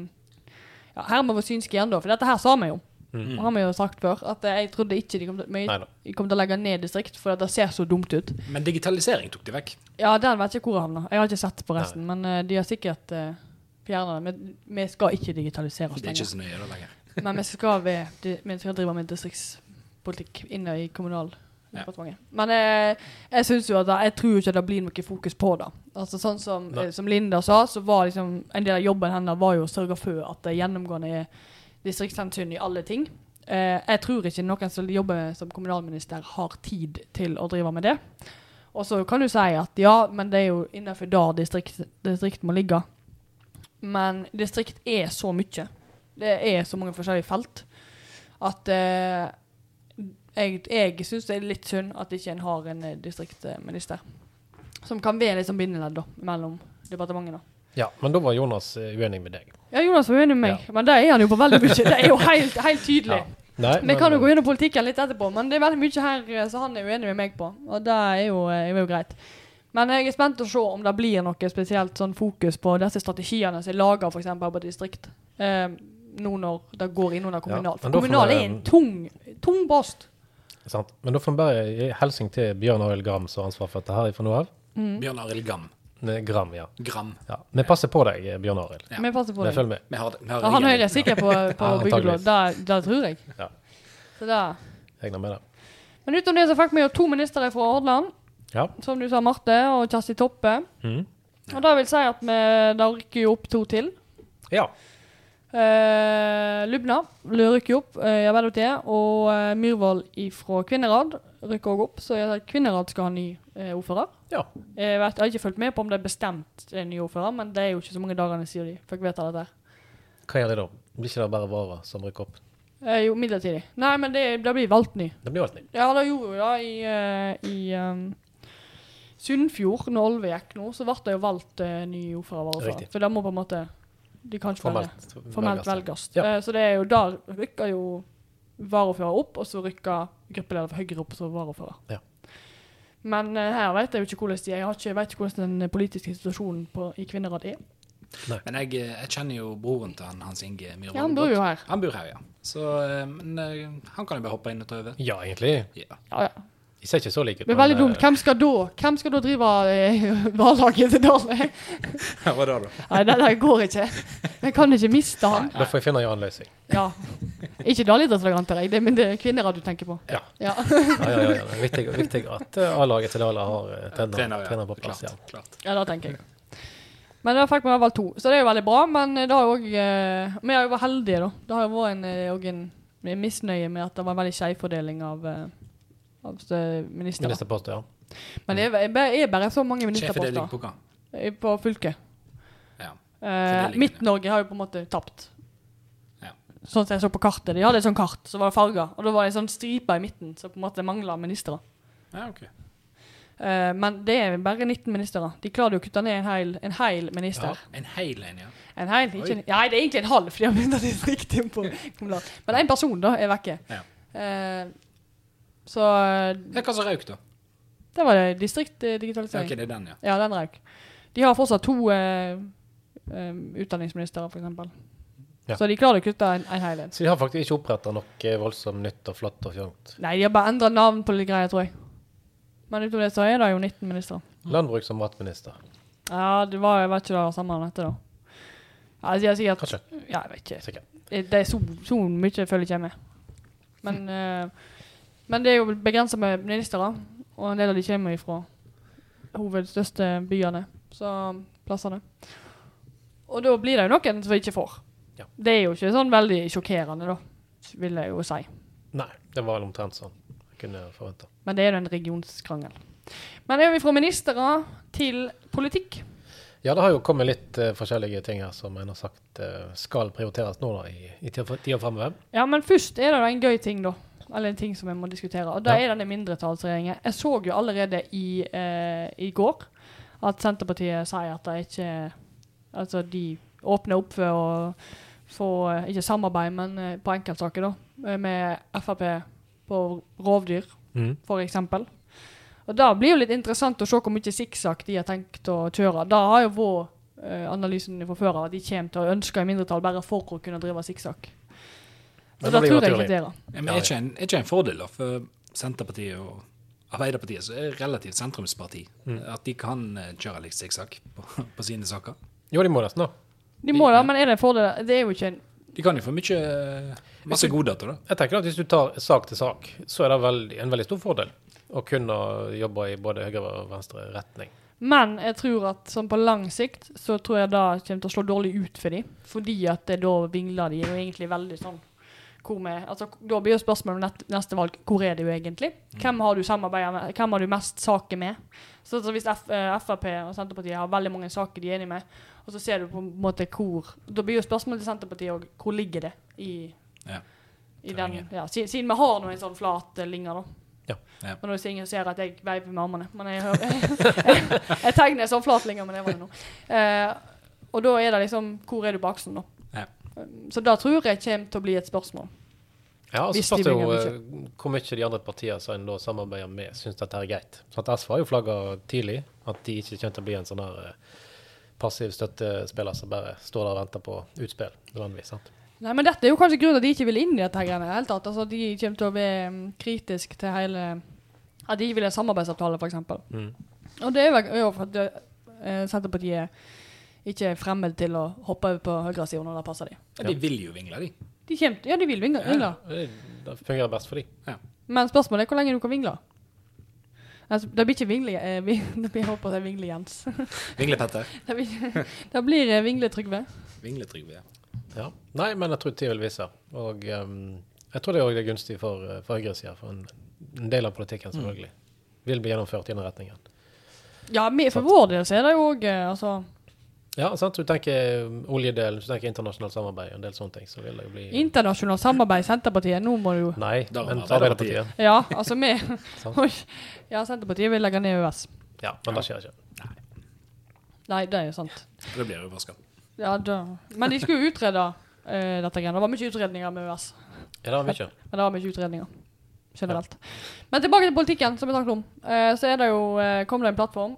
[SPEAKER 3] ja, Her må vi synske igjen, da. For dette her sa vi jo. Det har vi jo sagt før. At eh, jeg trodde ikke de kom til, vi-
[SPEAKER 1] Mm. Neida.
[SPEAKER 3] de kom til å legge ned distrikt, for at det ser så dumt ut.
[SPEAKER 2] Men digitalisering tok de vekk.
[SPEAKER 3] Ja, den vet jeg ikke hvor havna. Jeg har ikke sett på resten, men eh, de har sikkert uh, fjerna det. Men vi skal ikke digitalisere oss
[SPEAKER 2] Det er ikke
[SPEAKER 3] lenger.
[SPEAKER 2] så nøye da lenger.
[SPEAKER 3] men vi skal, ved, de, vi skal drive med distriktspolitikk inne i Kommunaldepartementet. Men eh, jeg synes jo at det- jeg tror jo ikke det blir noe fokus på det. Altså sånn som,
[SPEAKER 1] Nei.
[SPEAKER 3] eh, som Linda sa, så var liksom en del av jobben hennes var jo å sørge for at det gjennomgående er distriktshensyn i alle ting. Eh, jeg tror ikke noen som jobber som kommunalminister har tid til å drive med det. Og så kan du si at ja, men det er jo innenfor der distrikt, distrikt må ligge. Men distrikt er så mye. Det er så mange forskjellige felt at eh, jeg, jeg syns det er litt synd at ikke en har en eh, distriktsminister. Som kan være litt sånn bindeledd da, mellom departementene.
[SPEAKER 1] Ja, men da var Jonas eh, uenig med deg.
[SPEAKER 3] Ja, Jonas var uenig med meg, men det er han jo på veldig mye. Det er jo helt, helt tydelig.
[SPEAKER 1] Nei,
[SPEAKER 3] Vi kan
[SPEAKER 1] eh,
[SPEAKER 3] jo gå gjennom politikken litt etterpå, men det er veldig mye her eh, som han er uenig med meg på. Og det er jo, eh, er jo greit. Men jeg er spent å se om det blir noe spesielt sånn fokus på disse strategiene som er laga f.eks. på distrikt. Eh, nå når det går inn under kommunal.
[SPEAKER 1] Ja,
[SPEAKER 3] For
[SPEAKER 1] men da får
[SPEAKER 3] kommunal
[SPEAKER 1] vi- eh,
[SPEAKER 3] er en tung, tung post.
[SPEAKER 1] Sant? Men da får vi bare gi hilsing til Bjørn Arild Gram, som har ansvar for dette her fra nå av.
[SPEAKER 2] Bjørn Arild Gam.
[SPEAKER 1] Ne, Gram, ja.
[SPEAKER 2] Gram.
[SPEAKER 1] ja. Vi passer på deg, eh, Bjørn Arild.
[SPEAKER 2] Ja.
[SPEAKER 3] Vi passer på
[SPEAKER 1] Vi
[SPEAKER 3] det.
[SPEAKER 1] følger med.
[SPEAKER 2] Vi har, vi har
[SPEAKER 3] Ja, han
[SPEAKER 2] ryggen.
[SPEAKER 3] Høyre er sikker på, på
[SPEAKER 1] Ja,
[SPEAKER 3] bygdeblå.
[SPEAKER 1] antageligvis.
[SPEAKER 3] Det, det tror jeg.
[SPEAKER 1] Ja.
[SPEAKER 3] Så det.
[SPEAKER 1] Regner med det.
[SPEAKER 3] Men utenom det så fikk vi jo to ministre fra Hordaland.
[SPEAKER 1] Ja.
[SPEAKER 3] Som du sa, Marte og Kjersti Toppe.
[SPEAKER 1] Mhm.
[SPEAKER 3] Og det vil si at vi da rykker jo opp to til.
[SPEAKER 1] ja.
[SPEAKER 3] Eh, Lubna l- rykker jo opp eh, i Arbeiderpartiet, og eh, Myhrvold fra Kvinnerad rykker også opp. Så jeg sier at Kvinnerad skal ha ny eh, ordfører.
[SPEAKER 1] Ja.
[SPEAKER 3] Jeg, vet, jeg har ikke fulgt med på om det er bestemt en ny ordfører, men det er jo ikke så mange dagene siden de fikk vedta dette. her.
[SPEAKER 1] Hva gjør de da? Blir ikke det bare Vara som rykker opp?
[SPEAKER 3] Eh, jo, midlertidig. Nei, men det, det blir valgt ny.
[SPEAKER 1] Det blir alt nytt.
[SPEAKER 3] Ja, det gjorde jo det i, eh, i eh, Sunnfjord, når Olve gikk nå, så ble det jo valgt eh, ny ordfører. og varaordfører.
[SPEAKER 1] Riktig.
[SPEAKER 3] For det må på en måte De kan ikke velge.
[SPEAKER 1] Formelt,
[SPEAKER 3] Formelt velges.
[SPEAKER 1] Ja.
[SPEAKER 3] Eh, så det er jo der rykker jo varaordfører opp, og så rykker gruppeleder for Høyre opp som varaordfører.
[SPEAKER 1] Ja.
[SPEAKER 3] Men eh, her vet jeg jo ikke hvordan de Jeg har ikke, jeg vet ikke hvordan den politiske situasjonen på, i Kvinnerad er.
[SPEAKER 2] Men jeg, eh, jeg kjenner jo broren til han, Hans Inge Myhrvold.
[SPEAKER 3] Ja, han bor jo her.
[SPEAKER 2] Han bor her, ja. Så, eh, men eh, han kan jo bare hoppe inn og ta over.
[SPEAKER 1] Ja, egentlig.
[SPEAKER 2] Ja.
[SPEAKER 3] Ja, ja.
[SPEAKER 1] De ser ikke så like ut.
[SPEAKER 3] Det er
[SPEAKER 1] men,
[SPEAKER 3] veldig dumt.
[SPEAKER 1] eh,
[SPEAKER 3] Hvem skal da, hvem skal da drive eh, valglaget til Dale?
[SPEAKER 2] Hva da, da?
[SPEAKER 3] Nei, det, det går ikke. Jeg kan ikke miste han.
[SPEAKER 1] eh, Da får jeg finne en annen løsning.
[SPEAKER 3] Ja. Ikke dalidrettsdrag, antar jeg, det, men det er kvinneradio du tenker på.
[SPEAKER 1] Ja.
[SPEAKER 3] Ja.
[SPEAKER 1] Ja, ja, ja, ja. Det er Viktig, viktig at eh, A-laget til Dala har eh, trener,
[SPEAKER 2] Trener, ja.
[SPEAKER 1] trener på plass. Ja.
[SPEAKER 2] Klart, klart.
[SPEAKER 3] ja, det tenker jeg. Men da fikk vi i hvert fall to, så det er jo veldig bra. Men det har jo òg eh, Vi har jo vært heldige, da. Det har jo vært en, eh, og en en misnøye med at det var en veldig skeiv fordeling av, eh, av eh, ministre.
[SPEAKER 1] Ministerpost, ja.
[SPEAKER 3] Men det er, det er bare så mange
[SPEAKER 2] Sjeffordeling
[SPEAKER 3] ministerposter
[SPEAKER 2] på hva?
[SPEAKER 3] i- eh, på fylket.
[SPEAKER 2] Ja.
[SPEAKER 3] Eh,
[SPEAKER 2] Fordelingen,
[SPEAKER 3] Midt-Norge har jo på en måte tapt.
[SPEAKER 2] Ja.
[SPEAKER 3] Sånn som jeg så på kartet. De hadde et sånt kart, så var det farger. Og da var det en sånn stripe i midten som på en måte mangla ministre.
[SPEAKER 2] ja, ok.
[SPEAKER 3] Eh, men det er bare 19 ministre. De klarer jo å kutte ned en heil, en heil
[SPEAKER 2] Ja,
[SPEAKER 3] minister.
[SPEAKER 2] en hel en, ja.
[SPEAKER 3] En heil, ikke en, Nei, det er egentlig en halv, for de har bytta distriktet inn på kommunalt. Men en person, da, er vekke.
[SPEAKER 2] Ja.
[SPEAKER 3] Eh, så
[SPEAKER 2] Ja, Hva som røyk, da?
[SPEAKER 3] det var det
[SPEAKER 2] Ja,
[SPEAKER 3] distriktdigitalisering.
[SPEAKER 2] Ok, det er den, ja.
[SPEAKER 3] Ja, den røyk. De har fortsatt to eh, eh, utdanningsministre, f.eks.
[SPEAKER 1] Ja.
[SPEAKER 3] Så de klarer å kutte en, en hel en.
[SPEAKER 1] Så de har faktisk ikke oppretta noe voldsomt nytt og flott og fjongt.
[SPEAKER 3] Nei, de har bare endra navn på litt greier, tror jeg. Men utover det så er det jo 19 ministre.
[SPEAKER 1] Landbruks- og matminister.
[SPEAKER 3] Ja, det var, jeg vet ikke det samme han heter, da. Ja, jeg sier sikkert
[SPEAKER 1] Kanskje.
[SPEAKER 3] Ja, jeg vet ikke.
[SPEAKER 1] Sikkert.
[SPEAKER 3] Det Eh, det er så, så mye jeg føler ikke jeg med. Men, eh, men det er jo begrensa med ministre, og en del av de kommer ifra hovedstørste byene. Så plassene. Og da blir det jo noen som ikke får.
[SPEAKER 1] Ja.
[SPEAKER 3] Det er jo ikke sånn veldig sjokkerende, da, vil jeg jo si.
[SPEAKER 1] Nei, det var vel omtrent sånn jeg kunne forventa.
[SPEAKER 3] Men det er jo en regionskrangel. Men er vi fra ministre til politikk?
[SPEAKER 1] Ja, det har jo kommet litt eh, forskjellige ting her som en har sagt eh, skal prioriteres nå da, i, i tida for- tida fremover.
[SPEAKER 3] Ja, men først er det jo en gøy ting, da. Eller en ting som jeg må diskutere. Og det
[SPEAKER 1] Ja.
[SPEAKER 3] er denne mindretallsregjeringen. Jeg så jo allerede i, eh, i går at Senterpartiet sier at det ikke Altså, de åpner opp for å få eh, Ikke samarbeid, men eh, på enkeltsaker, da. eh, Med Frp på rovdyr.
[SPEAKER 1] Mm.
[SPEAKER 3] for eksempel. Og da blir jo litt interessant å se hvor mye sikksakk de har tenkt å kjøre. Da har jo vår eh, analysen fra før av at de kommer til å ønske i mindretall bare for å kunne drive sikksakk.
[SPEAKER 1] Men da
[SPEAKER 3] Så da
[SPEAKER 1] blir
[SPEAKER 3] tror
[SPEAKER 1] det
[SPEAKER 3] jeg
[SPEAKER 1] naturlig.
[SPEAKER 3] ikke det, da.
[SPEAKER 2] Ja, Men er ikke, en, er ikke en fordel da for Senterpartiet og Arbeiderpartiet, som er relativt sentrumsparti, at de kan eh, kjøre litt sikksakk på, på sine saker?
[SPEAKER 1] Jo, de må nesten da.
[SPEAKER 3] De må da, men er det en fordel? Det er jo ikke en
[SPEAKER 2] De kan jo få mye, eh, masse goder til det.
[SPEAKER 1] Jeg tenker at Hvis du tar sak til sak, så er det veldig, en veldig stor fordel å kunne jobbe i både høyre og venstre retning.
[SPEAKER 3] Men jeg tror at sånn på lang sikt så tror jeg det kommer til å slå dårlig ut for dem. Fordi at det, da vingler de jo egentlig veldig sånn hvor vi, altså, Da blir jo spørsmålet om nett, neste valg hvor er det jo egentlig?
[SPEAKER 2] Mm.
[SPEAKER 3] Hvem har du samarbeidet med? Hvem har du mest saker med? Så, så hvis F, eh, Frp og Senterpartiet har veldig mange saker de er enige med, og så ser du på en måte hvor Da blir jo spørsmålet til Senterpartiet òg hvor ligger det i,
[SPEAKER 2] Ja.
[SPEAKER 3] i den
[SPEAKER 2] Terrenget.
[SPEAKER 3] ja, si- Siden vi har nå en sånn flat eh, linje, da.
[SPEAKER 1] Ja.
[SPEAKER 2] Ja.
[SPEAKER 3] Men nå er det ingen som ser at jeg veiver med armene. Men jeg, jeg, jeg tegner en sånn flat linje, men det var det nå. Eh, og da er det liksom Hvor er du på aksen, da?
[SPEAKER 2] Ja.
[SPEAKER 3] Så da tror jeg kommer til å bli et spørsmål.
[SPEAKER 1] Ja, og så
[SPEAKER 3] Hvis de
[SPEAKER 1] spørs det jo
[SPEAKER 3] vinner
[SPEAKER 1] eh, hvor mye de andre partiene som en da samarbeider med, syns dette er greit. Så at SV har jo flagga tidlig at de ikke kommer til å bli en sånn her eh, passiv støttespiller som bare står der og venter på utspill. nødvendigvis, sant?
[SPEAKER 3] Nei, men dette er jo kanskje grunnen til at de ikke vil inn i dette her greiene i det hele tatt. Altså, de kommer til å være mm, kritisk til hele At de ikke vil ha en samarbeidsavtale, f.eks.
[SPEAKER 1] Mm.
[SPEAKER 3] Og det er vel er jo for at det, eh, Senterpartiet ikke er fremmed til å hoppe over på høyresida når det passer dem.
[SPEAKER 2] Ja, de vil jo vingle, de.
[SPEAKER 3] De kommer, ja, de vil vingle. vingle.
[SPEAKER 1] Det, det fungerer best for de.
[SPEAKER 3] Men spørsmålet er hvor lenge du kan vingle. Altså, det blir ikke vingle... Eh, vi, det blir, jeg håper det er vingle-Jens.
[SPEAKER 2] Vingle Petter.
[SPEAKER 3] det blir, det blir eh, vingle-Trygve.
[SPEAKER 2] Vingle Trygve. ja.
[SPEAKER 1] Ja. Nei, men jeg tror tida vil vise. Og ehm, jeg tror det òg er gunstig for, eh, for høyresida. For en, en del av politikken, selvfølgelig, vil bli gjennomført i den retningen.
[SPEAKER 3] Ja, vi, for vår del så er det jo òg eh, altså,
[SPEAKER 1] Ja, sant? Du tenker eh, oljedelen, du tenker internasjonalt samarbeid og en del sånne ting. Så vil det jo bli
[SPEAKER 3] internasjonalt samarbeid i Senterpartiet. Nå må du jo
[SPEAKER 1] Nei,
[SPEAKER 2] Da var
[SPEAKER 1] men
[SPEAKER 2] det Arbeiderpartiet.
[SPEAKER 1] Arbeiderpartiet.
[SPEAKER 3] Ja, altså vi
[SPEAKER 1] Sant.
[SPEAKER 3] Oi. Ja, Senterpartiet vil legge ned EØS.
[SPEAKER 1] Ja, men det skjer ikke.
[SPEAKER 3] Nei, det er jo sant.
[SPEAKER 2] Og det blir jeg overraska.
[SPEAKER 3] Ja, da. Men de skulle jo utrede eh, dette greiene. Det var mye utredninger med EØS.
[SPEAKER 1] Ja, det var mye.
[SPEAKER 3] Men det var mye utredninger. Generelt. Men tilbake til politikken, som vi snakket om. Eh, så er det jo, eh, kom det en plattform.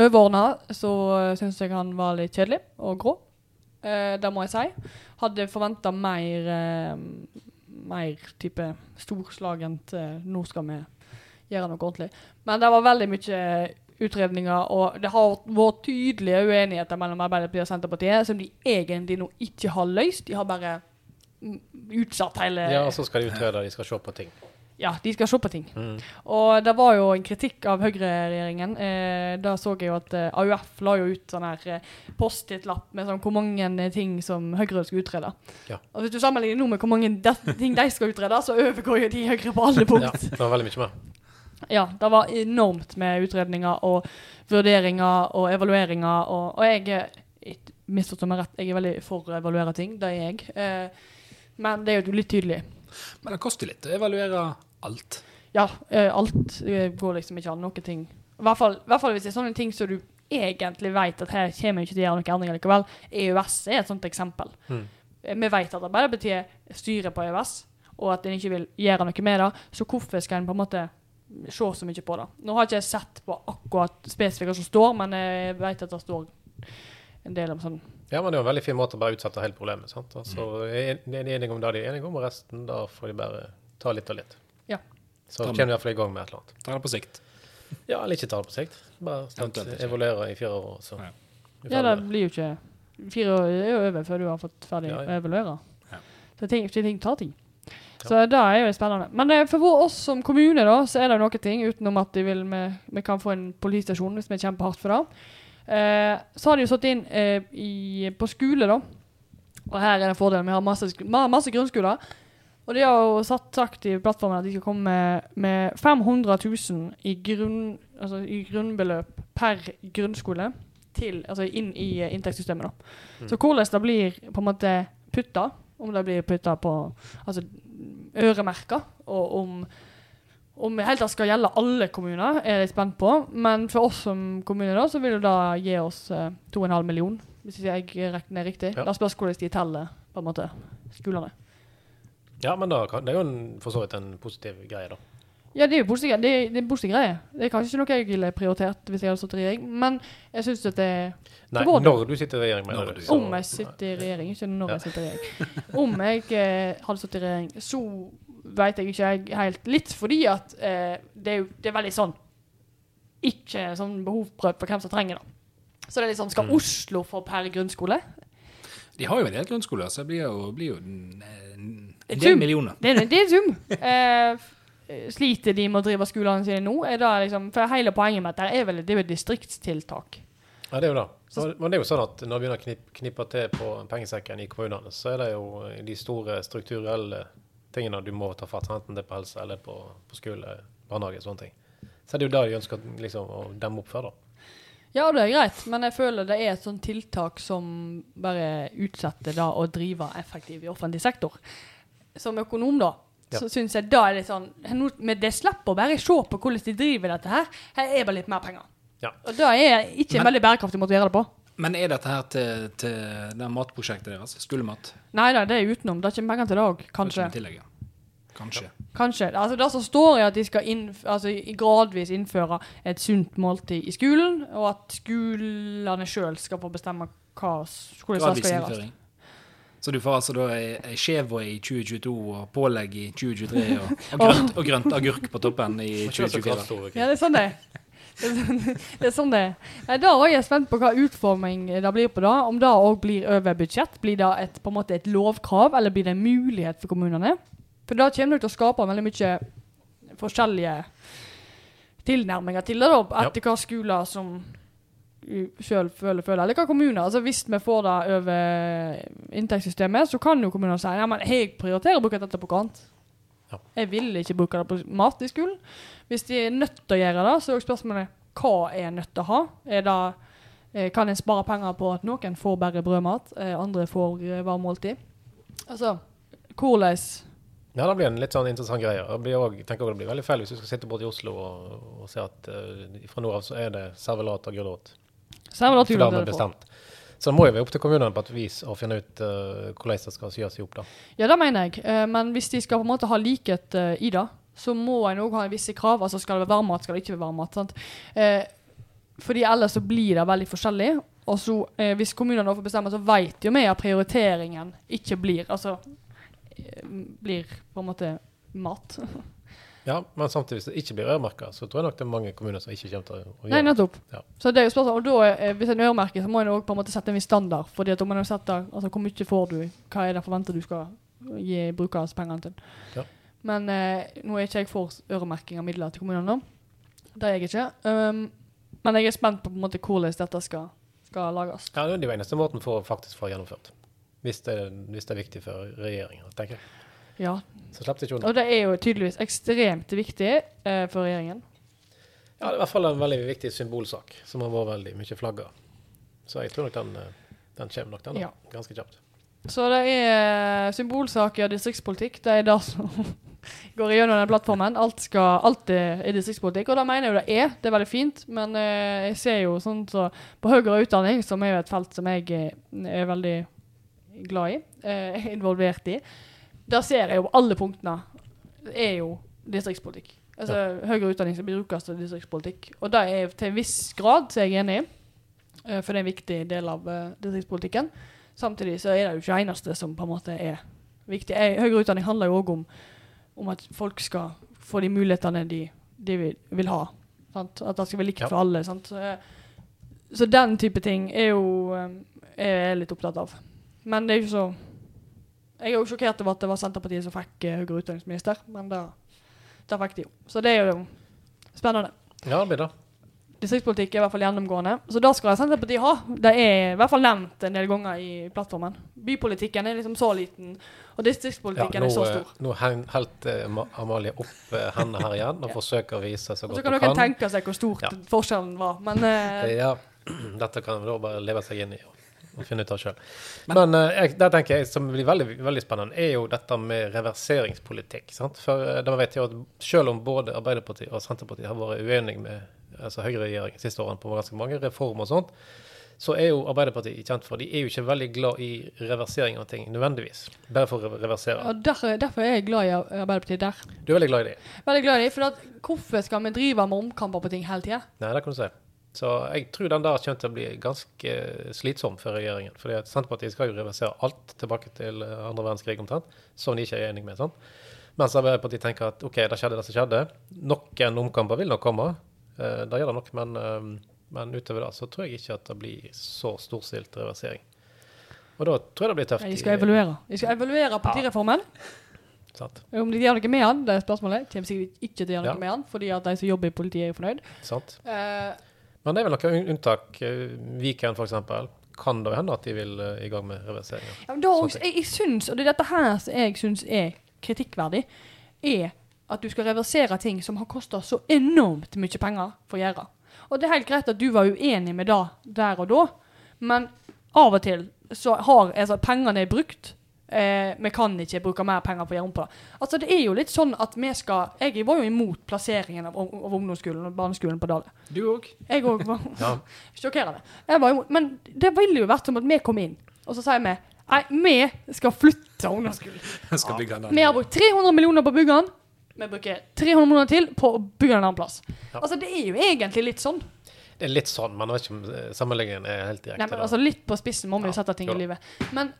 [SPEAKER 3] Overordna så eh, syns jeg han var litt kjedelig og grå. Eh, det må jeg si. Hadde forventa mer eh, mer type storslagent eh, Nå skal vi gjøre noe ordentlig. Men det var veldig mye utredninger, og det har vært tydelige uenigheter mellom Arbeiderpartiet og Senterpartiet, som de egentlig nå ikke har løst. De har bare mm, utsatt hele
[SPEAKER 1] Ja, altså, og så skal de utrede, de skal se på ting. Mm.
[SPEAKER 3] ja, de skal se på ting. Og det var jo en kritikk av høyreregjeringen. Eh, da så jeg jo at eh, AUF la jo ut sånn her eh, Post-It-lapp med sånn hvor mange eh, ting som Høyre skulle utrede.
[SPEAKER 1] Ja.
[SPEAKER 3] Og hvis du sammenligner nå med hvor mange de ting de skal utrede, så overgår jo de Høyre på alle
[SPEAKER 1] Ja,
[SPEAKER 3] punkt.
[SPEAKER 1] det var veldig mye mer.
[SPEAKER 3] Ja, det var enormt med utredninger og vurderinger og evalueringer. Og, og jeg er ikke- misforstå meg rett, jeg er veldig for å evaluere ting. Det er jeg. Eh, men det er jo litt tydelig.
[SPEAKER 2] Men det koster litt å evaluere alt.
[SPEAKER 3] Ja, eh, alt eh, går liksom ikke an. Noen ting I hvert fall, i hvert fall hvis det er sånne ting som du egentlig vet at her kommer vi ikke til å gjøre noen endringer likevel. EØS er et sånt eksempel.
[SPEAKER 1] Mm.
[SPEAKER 3] Eh, Vi vet at Arbeiderpartiet styrer på EØS, og at en ikke vil gjøre noe med det. Så hvorfor skal en på en måte se så mye på det? Nå har ikke jeg sett på akkurat spesifikt hva som står, men jeg vet at det står en del om sånn
[SPEAKER 1] Ja, men det er jo en veldig fin måte å bare utsette hele problemet. sant? Altså, er de er enige om det de er enige om, og resten da får de bare ta litt og litt.
[SPEAKER 3] Ja.
[SPEAKER 1] Så kommer de iallfall i gang med et eller annet.
[SPEAKER 2] Ta det på sikt.
[SPEAKER 1] Ja, eller ikke ta det på sikt. Bare sant,
[SPEAKER 2] Eventuelt ikke.
[SPEAKER 1] evaluere i fire år, så
[SPEAKER 2] Ja.
[SPEAKER 1] Vi
[SPEAKER 3] Ja,
[SPEAKER 1] tar
[SPEAKER 3] det blir jo ikke Fire år er jo over før du har fått ferdig
[SPEAKER 1] Ja,
[SPEAKER 3] å
[SPEAKER 1] ja.
[SPEAKER 3] evaluere.
[SPEAKER 2] Ja.
[SPEAKER 3] Så ting, ting tar tid. Så det er jo spennende. Men eh, for vår, oss som kommune, da, så er det noen ting utenom at de vil, vi, vi kan få en politistasjon hvis vi kjemper hardt for det. Eh, så har de jo satt inn eh, i, på skole, da. Og her er det fordelen. Vi har masse, sk- ma- masse grunnskoler. Og de har jo satt, sagt i plattformen at de skal komme med, med 500 000 i, grunn, altså i grunnbeløp per grunnskole til, altså inn i eh, inntektssystemet. Da. Så hvordan det blir på en måte putta, om det blir putta på altså, øremerka, og om om det helt tatt skal gjelde alle kommuner, er jeg spent på. Men for oss som kommune da, så vil det da gi oss eh, 2,5 million, hvis jeg regner riktig.
[SPEAKER 1] Ja.
[SPEAKER 3] Da spørs hvordan de teller på en måte, skolene.
[SPEAKER 1] Ja, men da, kan- det er jo en, for så vidt en positiv greie, da.
[SPEAKER 3] Ja, det er jo positive, det er, det er positive greier. Det er kanskje ikke noe jeg ville prioritert hvis jeg hadde stått i regjering, men jeg syns at det
[SPEAKER 1] Nei,
[SPEAKER 3] var det.
[SPEAKER 1] når du sitter i regjering,
[SPEAKER 2] Når
[SPEAKER 1] mener du.
[SPEAKER 2] du-
[SPEAKER 1] så-
[SPEAKER 3] Om jeg sitter i regjering, ikke når jeg sitter i regjering. Om jeg eh, hadde sittet i regjering, så vet jeg ikke jeg helt litt, fordi at eh, det, er jo, det er veldig sånn Ikke sånn behovsprøvd på hvem som trenger det. Så det er litt sånn Skal Oslo få per grunnskole?
[SPEAKER 2] De har jo en del grunnskoler, så det blir jo, blir jo en, en
[SPEAKER 3] En
[SPEAKER 2] del
[SPEAKER 3] sum.
[SPEAKER 2] millioner.
[SPEAKER 3] Det er, det er en sum. Eh, f- sliter de med å drive skolene sine nå? Er det liksom, for hele poenget med dette er vel det er jo et distriktstiltak.
[SPEAKER 1] Ja, det er jo det. Og- Men det er jo sånn at når det begynner å knip, knippe til på pengesekken i kommunene, så er det jo de store strukturelle tingene du må ta fatt enten det er på helse eller på, på skole, barnehage og sånne ting. Så det er jo det de ønsker liksom, å demme opp for, da.
[SPEAKER 3] Ja, det er greit, men jeg føler det er et sånt tiltak som bare utsetter da å drive effektivt i offentlig sektor. Som økonom, da,
[SPEAKER 1] Ja.
[SPEAKER 3] så syns jeg da er litt sånn nå- Men det slipper å bare se på hvordan de driver dette her. Her er bare litt mer penger.
[SPEAKER 1] Ja.
[SPEAKER 3] Og da er ikke en
[SPEAKER 2] Men-
[SPEAKER 3] veldig bærekraftig måte å gjøre det på.
[SPEAKER 2] Men er dette her til, til det matprosjektet deres? Skolemat?
[SPEAKER 3] Nei da, det er utenom. Det er ikke penger til det òg, kanskje.
[SPEAKER 2] Med tillegg, ja. Kanskje.
[SPEAKER 3] Kanskje. Altså Det som står, er at de skal innf altså, i- gradvis innføre et sunt måltid i skolen, og at skolene sjøl skal få bestemme hva skolen skal
[SPEAKER 2] Gradvis
[SPEAKER 3] gjøres.
[SPEAKER 2] innføring. Så du får altså da ei ei skjevå i 2022 og pålegg i 2023 og, og, grønt, og grønt agurk på toppen i
[SPEAKER 1] Men ikke så
[SPEAKER 2] 2024?
[SPEAKER 1] krass, Tore,
[SPEAKER 3] Ja,
[SPEAKER 1] Kim.
[SPEAKER 3] det er sånn det er. Det er sånn- Det er sånn det er. Nei, Da er jeg spent på hva utforming det blir på da. Om det òg blir over budsjett. Blir det et, på en måte et lovkrav, eller blir det en mulighet for kommunene? For da kommer det til å skape veldig mye forskjellige tilnærminger til det, da. Etter hva skoler som sjøl føler, føler, eller hva kommuner. Altså Hvis vi får det over inntektssystemet, så kan jo kommunene si ja, men jeg prioriterer å bruke dette på hva annet.
[SPEAKER 1] Ja.
[SPEAKER 3] Jeg vil ikke bruke det på mat i skolen. Hvis de er nødt til å gjøre det, så er jo spørsmålet hva er en nødt til å ha? Er det, eh, kan en spare penger på at noen får bare brødmat, eh, andre får eh, varm måltid? Altså, hvordan
[SPEAKER 1] Ja, det blir en litt sånn interessant greie. Det blir også, jeg tenker også det blir veldig feil hvis du skal sitte borte i Oslo og, og se at eh, fra nå av så er det servelat og gulrot.
[SPEAKER 3] Servelat
[SPEAKER 1] For det har
[SPEAKER 3] julebrød
[SPEAKER 1] vi
[SPEAKER 3] du får.
[SPEAKER 1] bestemt. Så det må jo være opp til kommunene på et vis å finne ut eh, hvordan det skal syes i hop, da.
[SPEAKER 3] Ja, det mener jeg. Eh, Men hvis de skal på en måte ha likhet eh, i det, så må en òg ha visse krav. Altså skal det være varmmat, skal det ikke være varmmat. sant? Eh, Fordi ellers så blir det veldig forskjellig. Og så, eh, hvis kommunene da får bestemme, så vet jo vi at prioriteringen ikke blir Altså eh, blir på en måte mat.
[SPEAKER 1] Ja, men samtidig, hvis det ikke blir øremerka, så tror jeg nok det er mange kommuner som ikke kommer til å å
[SPEAKER 3] Nei,
[SPEAKER 1] gjøre det.
[SPEAKER 3] nettopp.
[SPEAKER 1] Ja.
[SPEAKER 3] Så det er jo spørsmål, og da, eh, Hvis en øremerker, så må en òg på en måte sette en viss standard. Fordi at om en setter, altså Hvor mye får du? Hva er det forventa du skal gi brukernes pengene til?
[SPEAKER 1] Ja.
[SPEAKER 3] Men eh, nå er ikke jeg for øremerking av midler til kommunene. Det er jeg ikke. Um, men jeg er spent på på en måte hvordan dette skal, skal lages.
[SPEAKER 1] Ja, det er jo eneste måten for å faktisk få gjennomført. Hvis det, hvis det er viktig for regjeringen, tenker jeg.
[SPEAKER 3] Ja,
[SPEAKER 1] Så slipper de ikke unna.
[SPEAKER 3] Og det er jo tydeligvis ekstremt viktig eh, for regjeringen.
[SPEAKER 1] Ja, det er i hvert fall en veldig viktig symbolsak, som har vært veldig mye flagga. Så jeg tror nok den, eh, den kommer nok, den. da.
[SPEAKER 3] Ja.
[SPEAKER 1] Ganske kjapt.
[SPEAKER 3] Så det er eh, symbolsaker, distriktspolitikk. Det er det som går igjennom den plattformen. Alt, skal, alt er er distriktspolitikk, og det mener jeg jo det er. Det er veldig fint, men eh, jeg ser jo sånn så på høyere utdanning, som er jo et felt som jeg eh, er veldig glad i, eh, involvert i, der ser jeg jo alle punktene er jo distriktspolitikk. Altså høyere utdanning skal brukes til distriktspolitikk, og det er til en viss grad så er jeg enig i, eh, for det er en viktig del av eh, distriktspolitikken. Samtidig så er det jo ikke det eneste som på en måte er viktig. Eh, Høyere utdanning handler jo òg om, om at folk skal få de mulighetene de, de vil, vil ha. Sant? At det skal være likt
[SPEAKER 1] Ja.
[SPEAKER 3] for alle. Sant? Så, eh, så den type ting er jo eh, jeg er litt opptatt av. Men det er ikke så Jeg er jo sjokkert over at det var Senterpartiet som fikk eh, høyere utdanningsminister, men det, det fikk de jo. Så det er jo spennende.
[SPEAKER 1] Ja, det blir det.
[SPEAKER 3] Distriktspolitikk er i hvert fall gjennomgående. Så det skal Senterpartiet ha. Det er i hvert fall nevnt en del ganger i plattformen. Bypolitikken er liksom så liten, og
[SPEAKER 1] Ja,
[SPEAKER 3] distriktspolitikken
[SPEAKER 1] nå
[SPEAKER 3] er så
[SPEAKER 1] eh,
[SPEAKER 3] stor.
[SPEAKER 1] nå heng- helte eh, Ma- Amalie opp eh, hendene her igjen og
[SPEAKER 3] Ja.
[SPEAKER 1] forsøker å vise så
[SPEAKER 3] Og så
[SPEAKER 1] godt
[SPEAKER 3] kan
[SPEAKER 1] hun
[SPEAKER 3] dere
[SPEAKER 1] kan.
[SPEAKER 3] tenke seg hvor stort
[SPEAKER 1] Ja.
[SPEAKER 3] forskjellen var. Men eh,
[SPEAKER 1] Eh, Ja, dette kan vi da bare leve seg inn i og, og finne ut av sjøl. Men eh, jeg, det tenker jeg som blir veldig, veldig spennende, er jo dette med reverseringspolitikk. Sant? For eh, da vet jeg at selv om både Arbeiderpartiet og Senterpartiet har vært uenige med altså høyreregjeringen de siste årene på ganske mange reformer og sånt, så er jo Arbeiderpartiet kjent for De er jo ikke veldig glad i reversering av ting, nødvendigvis. Bare for å reversere.
[SPEAKER 3] og derfor, derfor er jeg glad i Ar- Arbeiderpartiet der.
[SPEAKER 1] Du er veldig glad i det?
[SPEAKER 3] Veldig glad i dem. For at, hvorfor skal vi drive med omkamper på ting hele tida?
[SPEAKER 1] Nei, det kan du si. Så jeg tror den der kommer til å bli ganske eh, slitsom for regjeringen. fordi at Senterpartiet skal jo reversere alt tilbake til eh, andre verdenskrig omtrent, som de ikke er enig med. sant? Mens Arbeiderpartiet tenker at OK, det skjedde det som skjedde. Noen omkamper vil nok komme. Eh, Det gjør det nok, men, eh, men utover det så tror jeg ikke at det blir så storstilt reversering. Og da tror jeg det blir tøft.
[SPEAKER 3] De
[SPEAKER 1] i-
[SPEAKER 3] skal evaluere. De skal evaluere partireformen.
[SPEAKER 1] Sant?
[SPEAKER 3] Om de gjør noe med den, det er spørsmålet. Kommer sikkert ikke til å gjøre noe
[SPEAKER 1] Ja.
[SPEAKER 3] med den, fordi at de som jobber i politiet, er jo fornøyd.
[SPEAKER 1] sant?
[SPEAKER 3] Eh,
[SPEAKER 1] Men det er vel noen unntak. Eh, Viken, f.eks. Kan det jo hende at de vil eh, i gang med reverseringer.
[SPEAKER 3] Ja, men da,
[SPEAKER 1] Sånne
[SPEAKER 3] også, jeg, jeg syns, og det er dette her som jeg syns er kritikkverdig, er at du skal reversere ting som har kosta så enormt mye penger for å gjøre. Og det er helt greit at du var uenig med det der og da, men av og til så har altså, pengene er brukt. Eh, vi kan ikke bruke mer penger på å gjøre om på det. Altså, det er jo litt sånn at vi skal Jeg var jo imot plasseringen av, av ungdomsskolen og barneskolen på Dale.
[SPEAKER 2] Du òg.
[SPEAKER 3] Jeg òg var
[SPEAKER 1] Ja.
[SPEAKER 3] sjokkerende. Jeg var imot. Men det ville jo vært som at vi kom inn, og så sier vi Nei, vi skal flytte ungdomsskolen.
[SPEAKER 2] Skal bygge den.
[SPEAKER 3] Vi har brukt 300 millioner på å bygge den. Vi bruker 300 millioner til på å bygge en annen plass.
[SPEAKER 1] Ja.
[SPEAKER 3] Altså, det er jo egentlig litt sånn.
[SPEAKER 1] Det er litt sånn, men jeg vet ikke om eh, sammenligningen er helt direkte.
[SPEAKER 3] Nei, men
[SPEAKER 1] da.
[SPEAKER 3] altså Litt på spissen må
[SPEAKER 1] Ja,
[SPEAKER 3] vi jo sette ting
[SPEAKER 1] jo
[SPEAKER 3] i
[SPEAKER 1] da.
[SPEAKER 3] livet. Men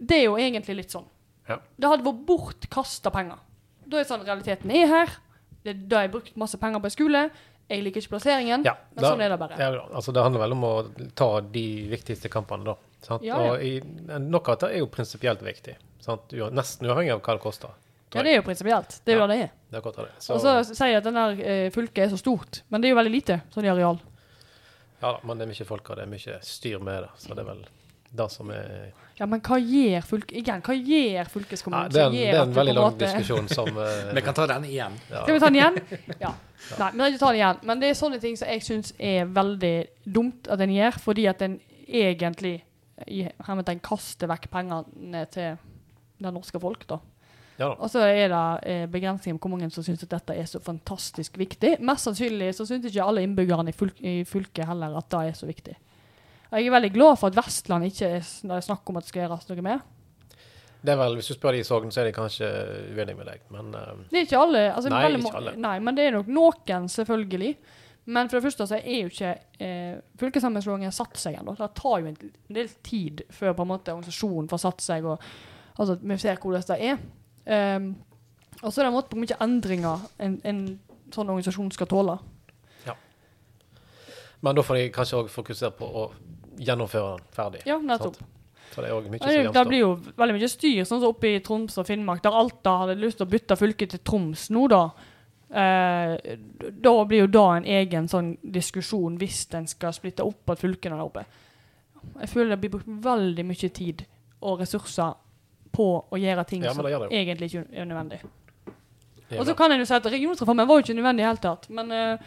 [SPEAKER 3] det er jo egentlig litt sånn.
[SPEAKER 1] Ja.
[SPEAKER 3] Det hadde vært bortkasta penger. Da er det sånn realiteten er her. Det er da jeg har brukt masse penger på en skole. Jeg liker ikke plasseringen.
[SPEAKER 1] ja,
[SPEAKER 3] men sånn er det bare.
[SPEAKER 1] Ja, altså, det handler vel om å ta de viktigste kampene, da. Sant?
[SPEAKER 3] Ja, ja.
[SPEAKER 1] Og i, noe av det er jo prinsipielt viktig. Sant? Ua- Nesten uavhengig av hva det koster.
[SPEAKER 3] Ja, det er jo prinsipielt. Det er jo
[SPEAKER 1] Ja.
[SPEAKER 3] det det er.
[SPEAKER 1] Det er akkurat det. Så,
[SPEAKER 3] Og så sier jeg at den der eh, fylket er så stort, men det er jo veldig lite sånn i areal.
[SPEAKER 1] ja da, men det er mye folk og det er mye styr med det. Så det er vel det som er
[SPEAKER 3] Ja, men hva gjør fylket? Igjen, hva gjør
[SPEAKER 1] Nei,
[SPEAKER 3] fylkeskommunen?
[SPEAKER 1] Det er
[SPEAKER 3] som
[SPEAKER 1] en,
[SPEAKER 3] gjør
[SPEAKER 1] det er
[SPEAKER 3] at
[SPEAKER 1] en
[SPEAKER 3] vi på
[SPEAKER 1] veldig
[SPEAKER 3] en
[SPEAKER 1] lang
[SPEAKER 3] måte-
[SPEAKER 1] diskusjon som eh,
[SPEAKER 2] Vi kan ta den igjen.
[SPEAKER 1] ja.
[SPEAKER 3] Skal vi ta den igjen? Ja. Nei, men ikke ta den igjen. Men det er sånne ting som jeg syns er veldig dumt at en gjør, fordi at en egentlig i hermetegn kaster vekk pengene til det norske folk, da.
[SPEAKER 1] ja da.
[SPEAKER 3] Og så er det eh, begrensninger på hvor mange som syns at dette er så fantastisk viktig. Mest sannsynlig så syns ikke alle innbyggerne i, fylk i fylket heller at det er så viktig. Og Jeg er veldig glad for at Vestland ikke er sn- det er snakk om at det skal gjøres noe med.
[SPEAKER 1] Det er vel, Hvis du spør de i Sogn, så er de kanskje uenige med deg, men eh,
[SPEAKER 3] Det er ikke alle. Altså,
[SPEAKER 1] Nei,
[SPEAKER 3] veldig
[SPEAKER 1] ikke
[SPEAKER 3] ma-
[SPEAKER 1] alle.
[SPEAKER 3] Nei, men det er nok noen, selvfølgelig. Men for det første så er jo ikke eh, fylkessammenslåingen satt seg ennå. Det tar jo en del tid før på en måte organisasjonen får satt seg, og altså, vi ser hvordan det er. Ehm, og så er det en måte på hvor mye endringer en, en sånn organisasjon skal tåle.
[SPEAKER 1] Men da får de kanskje òg fokusere på å gjennomføre den ferdig.
[SPEAKER 3] Ja, nettopp.
[SPEAKER 1] Sant. For det er òg mye
[SPEAKER 3] Og
[SPEAKER 1] som
[SPEAKER 3] Det, det
[SPEAKER 1] gjenstår.
[SPEAKER 3] blir jo veldig mye styr, sånn som oppe i Troms og Finnmark, der Alta hadde lyst til å bytte fylke til Troms nå, da. Eh, da blir jo da en egen sånn diskusjon, hvis en skal splitte opp at fylkene der oppe. Jeg føler det blir brukt veldig mye tid og ressurser på å gjøre ting
[SPEAKER 1] Ja, men
[SPEAKER 3] som
[SPEAKER 1] det gjør det
[SPEAKER 3] egentlig ikke er nødvendig.
[SPEAKER 1] Ja,
[SPEAKER 3] Og så
[SPEAKER 1] da.
[SPEAKER 3] kan en jo si at regionsreformen var jo ikke nødvendig i det hele tatt, men eh,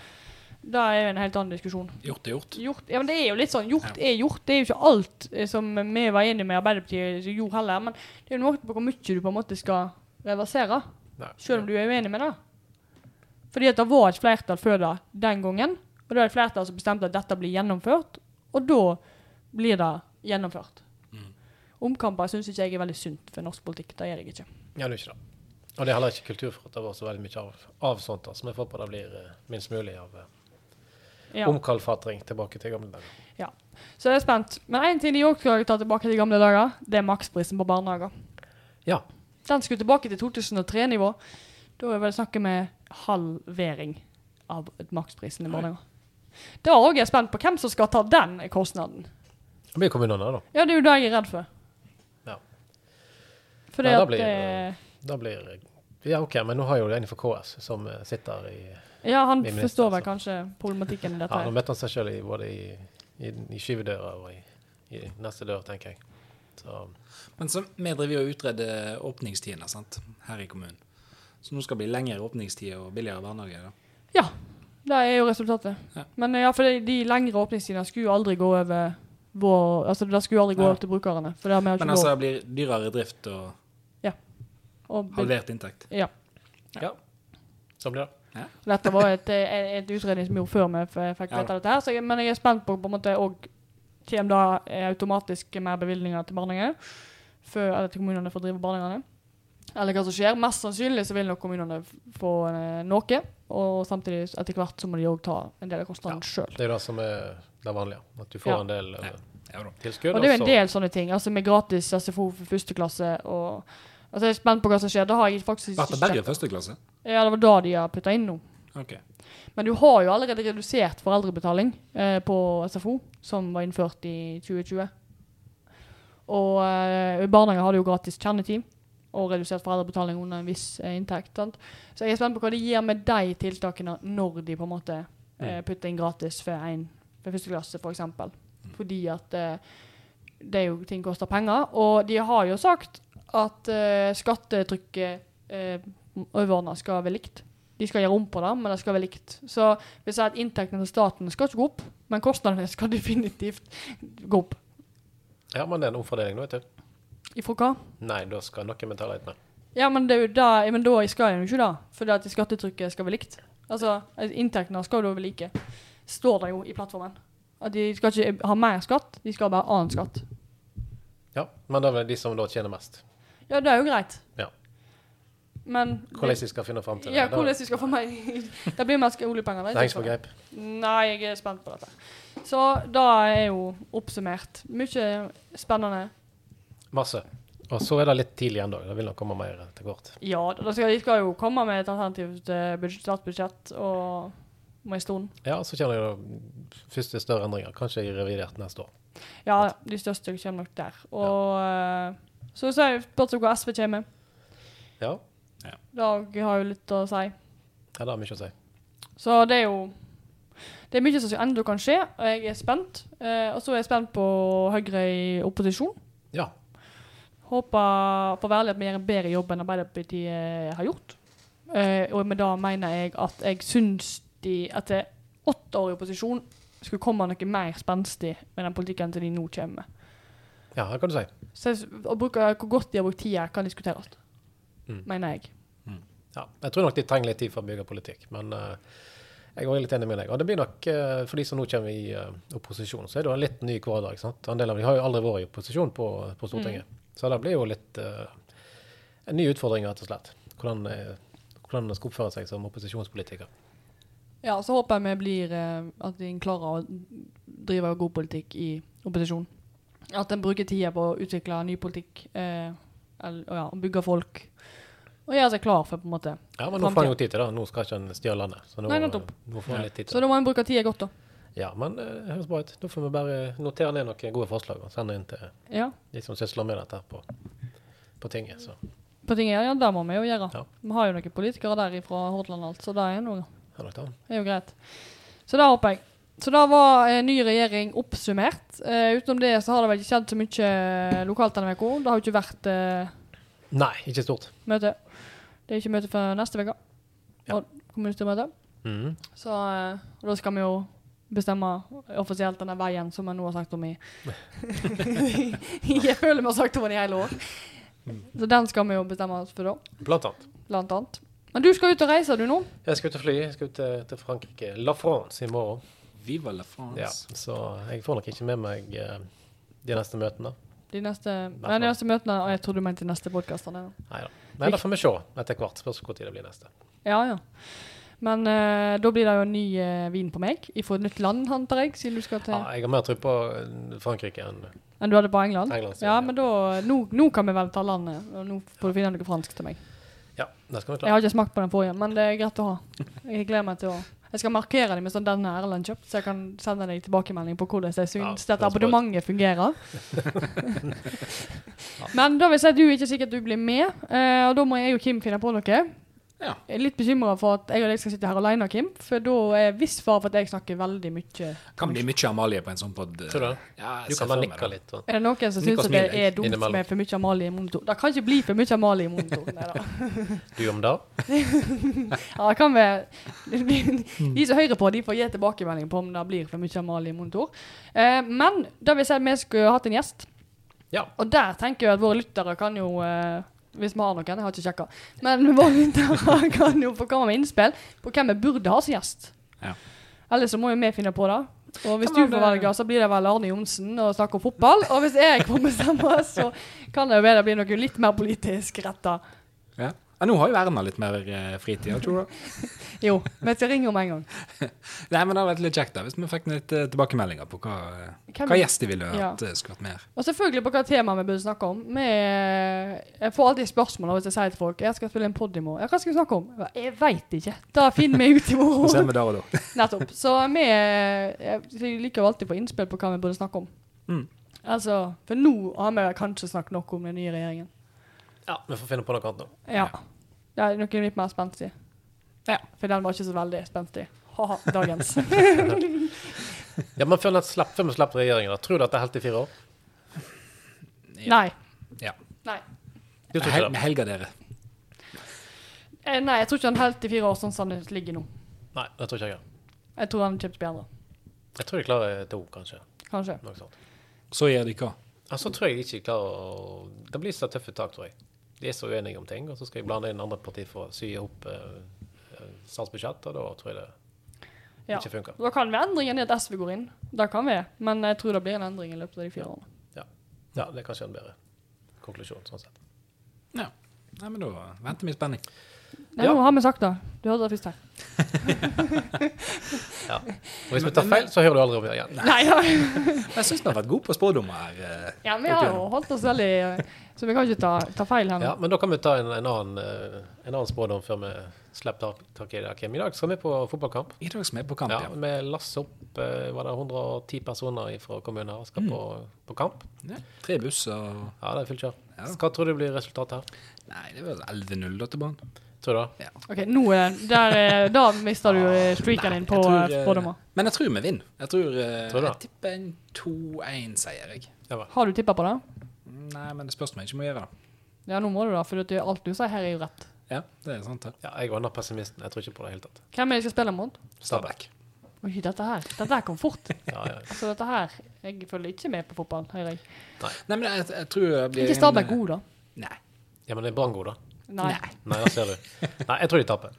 [SPEAKER 3] Det er jo en helt annen diskusjon.
[SPEAKER 2] Gjort er gjort.
[SPEAKER 3] Hjort, ja, men det er jo litt sånn, hjort er hjort. Det er jo ikke alt eh, som vi var enige med Arbeiderpartiet som gjorde heller. Men det er jo noe på hvor mye du på en måte skal reversere,
[SPEAKER 1] Nei.
[SPEAKER 3] selv om du er uenig med det. Fordi at det var et flertall før det den gangen. Og det er et flertall som bestemte at dette blir gjennomført. Og da blir det gjennomført. Omkamper syns ikke jeg er veldig sunt for norsk politikk. Det er jeg ikke.
[SPEAKER 1] Ja, det er ikke det. Og det er heller ikke kultur for at det var så veldig mye av, av sånt. Altså. Vi håper det blir eh, minst mulig av eh,
[SPEAKER 3] Ja.
[SPEAKER 1] omkalfatring tilbake til gamle dager.
[SPEAKER 3] Så jeg er spent. Men én ting de òg skal ta tilbake til gamle dager, det er maksprisen på barnehager.
[SPEAKER 1] Ja.
[SPEAKER 3] Den skulle tilbake til 2003-nivå. Da er vel snakket med halvering av maksprisen i barnehager. Da er også jeg spent på hvem som skal ta den kostnaden.
[SPEAKER 1] Det blir kommunene, da.
[SPEAKER 3] Ja, det er jo det jeg er redd for.
[SPEAKER 1] Ja.
[SPEAKER 3] Fordi
[SPEAKER 1] Nei, da
[SPEAKER 3] at
[SPEAKER 1] blir det-
[SPEAKER 3] eh,
[SPEAKER 1] Da blir eh, Ja, OK, men nå har jo det en fra KS som eh, sitter i
[SPEAKER 3] Ja, han
[SPEAKER 1] Vi minst,
[SPEAKER 3] forstår vel
[SPEAKER 1] altså.
[SPEAKER 3] kanskje problematikken i dette.
[SPEAKER 1] Ja, nå
[SPEAKER 3] her.
[SPEAKER 1] møtte han seg sjøl både i, i, i skyvedøra og i, i neste dør, tenker jeg. Så
[SPEAKER 2] Men så, vi driver jo og utreder åpningstidene sant? her i kommunen. Så nå skal det bli lengre åpningstid og billigere barnehage. Da.
[SPEAKER 3] Ja. Det er jo resultatet.
[SPEAKER 2] Ja.
[SPEAKER 3] Men eh, ja, for de, de lengre åpningstidene skulle jo aldri gå over vår Altså, det skulle jo aldri gå
[SPEAKER 2] Ja.
[SPEAKER 3] over til brukerne. For det har vi jo ikke
[SPEAKER 2] Men
[SPEAKER 3] lov
[SPEAKER 2] altså, det blir dyrere drift og
[SPEAKER 3] å bygge-
[SPEAKER 2] halvert inntekt.
[SPEAKER 3] Ja.
[SPEAKER 1] så Sånn blir det.
[SPEAKER 3] Dette var et, eh, et utredning som gjorde før vi f- fikk
[SPEAKER 2] Ja.
[SPEAKER 3] vite dette her, så jeg, men jeg er spent på på en måte òg Kommer da eh, automatisk mer bevilgninger til barnehager før eller til kommunene for å drive barnehagene? Eller hva som skjer. Mest sannsynlig så vil nok kommunene f- få eh, noe, og samtidig s- etter hvert så må de òg ta en del av kostnaden selv.
[SPEAKER 1] Det er jo det som er det vanlige. At du får
[SPEAKER 3] Ja.
[SPEAKER 1] en del eh,
[SPEAKER 2] Ja da.
[SPEAKER 1] tilskudd.
[SPEAKER 3] Og det er jo
[SPEAKER 1] og
[SPEAKER 3] en
[SPEAKER 1] så-
[SPEAKER 3] del sånne ting. Altså med gratis SFO for første klasse og Altså jeg er spent på hva som skjer. Det har jeg faktisk
[SPEAKER 2] Ble
[SPEAKER 3] ikke
[SPEAKER 2] det bare
[SPEAKER 3] sjekket.
[SPEAKER 2] i første klasse?
[SPEAKER 3] Ja, det var da de har putta inn nå.
[SPEAKER 2] Ok.
[SPEAKER 3] Men du har jo allerede redusert foreldrebetaling eh, på SFO, som var innført i 2020. Og eh, i barnehager har du jo gratis kjernetid og redusert foreldrebetaling under en viss eh, inntekt. Sant? Så jeg er spent på hva det gir med de tiltakene når de på en måte eh, putter inn gratis for, en, for første klasse, f.eks. eksempel. Fordi at eh, det er jo ting koster penger. Og de har jo sagt at eh, skattetrykket eh, overordna skal være likt. De skal gjøre om på det, men det skal være likt. Så hvis jeg at inntektene til staten skal ikke gå opp, men kostnadene skal definitivt gå opp.
[SPEAKER 1] Ja, men det er en omfordeling, nå, vet du.
[SPEAKER 3] Ifra hva?
[SPEAKER 1] Nei, da skal noen betale litt mer.
[SPEAKER 3] Ja, men, det er jo da, ja, men da skal jeg jo ikke det, fordi at skattetrykket skal være likt. Altså, at inntektene skal jo være like. Står det jo i plattformen. At de skal ikke ha mer skatt, de skal ha bare annen skatt.
[SPEAKER 1] Ja, men det er vel de som da tjener mest.
[SPEAKER 3] Ja, det er jo greit.
[SPEAKER 1] Ja.
[SPEAKER 3] Men
[SPEAKER 1] Hvordan de skal finne fram til det.
[SPEAKER 3] Ja,
[SPEAKER 1] det-
[SPEAKER 3] hvordan de skal få meg Det blir mer sk- oljepenger.
[SPEAKER 1] Det hengs på greip.
[SPEAKER 3] Nei, jeg er spent på dette. Så da er jo oppsummert. Mye spennende.
[SPEAKER 1] Masse. Og så er det litt tidlig ennå. Det vil nok komme mer til kort.
[SPEAKER 3] Ja, da skal, de skal jo komme med et alternativt eh, budsjett- statsbudsjett og om en stund.
[SPEAKER 1] Ja, så kjenner jeg da første større endringer. Kanskje i revidert neste år.
[SPEAKER 3] Ja, de største kommer nok der. Og eh, så ser vi spørs hva SV kommer med.
[SPEAKER 1] Ja,
[SPEAKER 3] Det har jo litt å si.
[SPEAKER 1] ja det har mye å si.
[SPEAKER 3] Så det er jo Det er mye som ennå kan skje, og jeg er spent. Eh, og så er jeg spent på Høyre i opposisjon.
[SPEAKER 1] Ja.
[SPEAKER 3] Håper for ærlig at vi gjør en bedre jobb enn Arbeiderpartiet har gjort. Eh, og med det mener jeg at jeg syns de etter åtte år i opposisjon skulle komme noe mer spenstig med den politikken som de nå kommer med.
[SPEAKER 1] Ja, det kan du si.
[SPEAKER 3] Så jeg, s- å bruke, hvor godt de har brukt tida, kan diskuteres,
[SPEAKER 1] Mm.
[SPEAKER 3] mener jeg.
[SPEAKER 1] Ja, jeg tror nok de trenger litt tid for å bygge politikk, men eh, jeg er litt enig med deg. Og det blir nok, eh, for de som nå kommer i eh, opposisjon, så er det jo en litt ny hverdag. sant? En del av de har jo aldri vært i opposisjon på, på Stortinget.
[SPEAKER 3] Mm.
[SPEAKER 1] Så det blir jo litt eh, en ny utfordring, rett og slett. Hvordan, eh, hvordan man skal oppføre seg som opposisjonspolitiker.
[SPEAKER 3] Ja, så håper jeg vi blir eh, at de klarer å drive god politikk i opposisjon. At en bruker tida på å utvikle ny politikk, eh, eller, og ja, og bygge folk. Og gjøre seg klar for, på en måte.
[SPEAKER 1] Ja, men nå får han jo tid til det. Nå skal ikke han styre landet. Så nå,
[SPEAKER 3] Nei, nettopp.
[SPEAKER 1] eh, nå får han litt tid
[SPEAKER 3] Så
[SPEAKER 1] til det.
[SPEAKER 3] da må en bruke tida godt, da.
[SPEAKER 1] Ja, men eh, det høres bra ut. Da får vi bare notere ned noen gode forslag og sende inn til
[SPEAKER 3] Ja.
[SPEAKER 1] de som sysler med dette her på, på tinget. Så
[SPEAKER 3] På ting er, ja, det må vi jo gjøre.
[SPEAKER 1] Ja.
[SPEAKER 3] Vi har jo noen politikere der fra Hordaland og alt, så det er noe.
[SPEAKER 1] det er nok det.
[SPEAKER 3] Det er jo greit. Så det håper jeg. Så da var eh, ny regjering oppsummert. Eh, utenom det så har det vel ikke skjedd så mye eh, lokalt denne uka. Det har jo ikke vært eh,
[SPEAKER 1] Nei, ikke stort.
[SPEAKER 3] møte. Det er ikke møte før neste uke.
[SPEAKER 1] Ja.
[SPEAKER 3] Og Kommunestyremøte.
[SPEAKER 1] Mm.
[SPEAKER 3] Så eh, og da skal vi jo bestemme offisielt denne veien som jeg nå har sagt om i Jeg føler vi har sagt om den i hele år. Så den skal vi jo bestemme oss for, da.
[SPEAKER 1] Blant annet.
[SPEAKER 3] Blant annet. Men du skal ut og reise, du nå?
[SPEAKER 1] Jeg skal ut og fly. Jeg skal ut til, til Frankrike. La France i morgen.
[SPEAKER 2] Viva la France.
[SPEAKER 1] Ja, så jeg får nok ikke med meg eh, de neste møtene.
[SPEAKER 3] De neste, nei, de neste møtene Og jeg tror du mente de neste podkastene.
[SPEAKER 1] Neida. Men da får vi se etter hvert. Spørs hvor tid det blir neste.
[SPEAKER 3] Ja, ja. Men eh, da blir det jo en ny eh, vin på meg. Ifra et nytt land, antar jeg, siden du skal til
[SPEAKER 1] Ja, jeg har mer tro på eh, Frankrike enn
[SPEAKER 3] Enn du hadde på England?
[SPEAKER 1] England. sier
[SPEAKER 3] Ja,
[SPEAKER 1] jeg.
[SPEAKER 3] men da, nå, nå kan vi vel ta landet. Og nå får du finne noe fransk til meg.
[SPEAKER 1] Ja, det skal vi
[SPEAKER 3] Jeg
[SPEAKER 1] klare.
[SPEAKER 3] har ikke smakt på den forrige, men det er greit å ha. Jeg gleder meg til å Jeg skal markere dem med sånn 'denne er Erlend kjøpt', så jeg kan sende deg tilbakemelding på hvordan jeg
[SPEAKER 1] Ja,
[SPEAKER 3] syns
[SPEAKER 1] det
[SPEAKER 3] dette
[SPEAKER 1] er sprøtt.
[SPEAKER 3] abonnementet fungerer. Men da vil jeg si at du er ikke sikkert du blir med, eh, og da må jeg og Kim finne på noe. Jeg
[SPEAKER 2] Ja.
[SPEAKER 3] er litt bekymra for at jeg og deg skal sitte her alene, Kim, for da er viss fare for at jeg snakker veldig mye.
[SPEAKER 2] Kan bli mye Amalie på en sånn pod.
[SPEAKER 1] Tror du det?
[SPEAKER 2] Ja,
[SPEAKER 1] Du
[SPEAKER 2] jeg ser
[SPEAKER 1] kan bare
[SPEAKER 2] for meg
[SPEAKER 1] nikke
[SPEAKER 2] det.
[SPEAKER 1] litt. Og.
[SPEAKER 3] Er det noen som syns
[SPEAKER 2] Niklas
[SPEAKER 3] at det
[SPEAKER 2] Mille,
[SPEAKER 3] er dumt
[SPEAKER 1] innimellom.
[SPEAKER 3] med for mye Amalie i monitor? Det kan ikke bli for mye Amalie i monitor. Nei da.
[SPEAKER 1] Du om det?
[SPEAKER 3] Ja, det kan være
[SPEAKER 2] Mm.
[SPEAKER 3] De som hører på, de får gi tilbakemelding på om det blir for mye Amalie i monitor. Eh, men det vil si at vi skulle hatt en gjest.
[SPEAKER 1] Ja.
[SPEAKER 3] Og der tenker jeg at våre lyttere kan jo eh, hvis vi har noen, jeg har ikke sjekka. Men våre lyttere kan jo få komme med innspill på hvem vi burde ha som gjest.
[SPEAKER 2] Ja.
[SPEAKER 3] Ellers så må jo vi finne på det. Og hvis
[SPEAKER 2] Ja,
[SPEAKER 3] du
[SPEAKER 2] men
[SPEAKER 3] får
[SPEAKER 2] det-
[SPEAKER 3] velge, så blir det vel Arne Johnsen og snakke om fotball. Og hvis jeg får bestemme, så kan det jo være det blir noe litt mer politisk retta.
[SPEAKER 2] Ja. Ja, nå har jo Erna litt mer eh, fritid. har ikke hun det?
[SPEAKER 3] Jo, vi skal ringe om en gang.
[SPEAKER 2] Nei, men det hadde vært litt kjekt da, hvis vi fikk litt eh, tilbakemeldinger på hva, eh,
[SPEAKER 3] Hvem-
[SPEAKER 2] hva gjest de ville
[SPEAKER 3] Ja.
[SPEAKER 2] hatt eh, skulle hatt mer.
[SPEAKER 3] Og selvfølgelig på hva tema vi burde snakke om. Vi, jeg får alltid spørsmål hvis jeg sier til folk Jeg skal spille en pod i morgen. Ja, hva skal vi snakke om? Jeg bare, Jeg veit ikke. Da finner vi ut i
[SPEAKER 2] Så ser
[SPEAKER 3] morgen.
[SPEAKER 2] vi der og da.
[SPEAKER 3] Nettopp. Så vi jeg liker jo alltid å få innspill på hva vi burde snakke om.
[SPEAKER 2] Mm.
[SPEAKER 3] Altså, For nå har vi kanskje snakket nok om den nye regjeringen.
[SPEAKER 1] Ja, vi får finne på noe annet nå.
[SPEAKER 3] Ja. Det er noe litt mer spenstig.
[SPEAKER 2] Ja.
[SPEAKER 3] For den var ikke så veldig spenstig. Haha, dagens.
[SPEAKER 1] Ja, men før den slapp, før vi slapp regjeringen, da, tror du at det er helt i fire år?
[SPEAKER 3] Nei.
[SPEAKER 2] Ja.
[SPEAKER 3] Nei.
[SPEAKER 1] Du tror
[SPEAKER 2] Hel
[SPEAKER 1] ikke det?
[SPEAKER 2] helga dere.
[SPEAKER 3] Eh, Nei, jeg tror ikke han helt i fire år sånn som det ligger nå.
[SPEAKER 1] Nei, det tror ikke jeg. ja.
[SPEAKER 3] Jeg tror han kommer til å bli bedre.
[SPEAKER 1] Jeg tror de klarer to, kanskje.
[SPEAKER 3] Kanskje.
[SPEAKER 1] Noe sånt.
[SPEAKER 2] Så gjør de hva?
[SPEAKER 1] Ja, så tror jeg de ikke klarer å Det blir så tøffe tak, tror jeg. De er så uenige om ting, og så skal jeg blande inn andre partier for å sy opp eh, eh, statsbudsjett, og da tror jeg det
[SPEAKER 3] Ja.
[SPEAKER 1] ikke funker.
[SPEAKER 3] Da kan være endringen er at SV går inn. Det kan vi. Men jeg tror det blir en endring i løpet av de fire årene.
[SPEAKER 1] Ja, det er kanskje en bedre konklusjon, sånn sett.
[SPEAKER 2] Ja. Nei, men da venter vi i spenning.
[SPEAKER 3] Nei,
[SPEAKER 1] Ja.
[SPEAKER 3] nå har vi sagt det. Du hørte det først her.
[SPEAKER 1] Ja. Og hvis vi tar feil, så hører du aldri om det igjen.
[SPEAKER 3] Nei, ja.
[SPEAKER 2] Jeg syns vi har vært gode på spådommer her. eh.
[SPEAKER 3] ja, vi har jo holdt oss veldig eh, Så vi kan ikke ta, ta feil her nå.
[SPEAKER 1] Ja, men da kan vi ta en, en, annen, eh, en annen spådom før vi slipper tak, tak i det. Kim. I dag skal vi på fotballkamp.
[SPEAKER 2] I dag skal vi på kamp,
[SPEAKER 1] Ja,
[SPEAKER 2] ja.
[SPEAKER 1] Vi lasser opp eh, var det 110 personer fra kommunen her og skal på, på kamp.
[SPEAKER 2] ja. Tre busser og
[SPEAKER 1] Ja, det er fullt kjør.
[SPEAKER 2] Ja.
[SPEAKER 1] Hva tror du blir resultatet her?
[SPEAKER 2] Nei, det var 11-0 da til Brann.
[SPEAKER 1] Tror du det?
[SPEAKER 3] OK, nå er den der, eh, Da mister du eh, streaken
[SPEAKER 2] Nei,
[SPEAKER 3] din
[SPEAKER 2] jeg
[SPEAKER 3] på
[SPEAKER 2] tror,
[SPEAKER 3] eh,
[SPEAKER 2] eh,
[SPEAKER 3] spådommer.
[SPEAKER 2] Men jeg tror vi vinner. Jeg tror, eh,
[SPEAKER 1] Tror du
[SPEAKER 2] Jeg
[SPEAKER 1] det?
[SPEAKER 2] tipper en 2-1-seier, jeg.
[SPEAKER 1] Ja, vel.
[SPEAKER 3] Har du tippa på det?
[SPEAKER 2] Nei, men det spørs om jeg ikke må gjøre det.
[SPEAKER 3] Ja, nå må du det, for at alt du sier her, er jo rett.
[SPEAKER 2] Ja, det er sant, det.
[SPEAKER 1] ja, jeg var pessimisten. Jeg tror ikke på det i det hele tatt.
[SPEAKER 3] Hvem er det jeg skal spille mot?
[SPEAKER 2] Stabæk.
[SPEAKER 3] Oi, dette her Dette her kom fort.
[SPEAKER 1] Ja, ja.
[SPEAKER 3] Altså, dette her Jeg følger ikke med på fotball, hører jeg.
[SPEAKER 2] Nei, men jeg, jeg tror det blir eh,
[SPEAKER 3] Ikke Stabæk god, da?
[SPEAKER 2] Nei.
[SPEAKER 1] ja men det er Brann god, da.
[SPEAKER 3] Nei.
[SPEAKER 1] Nei, da ser du. Nei, jeg tror de taper.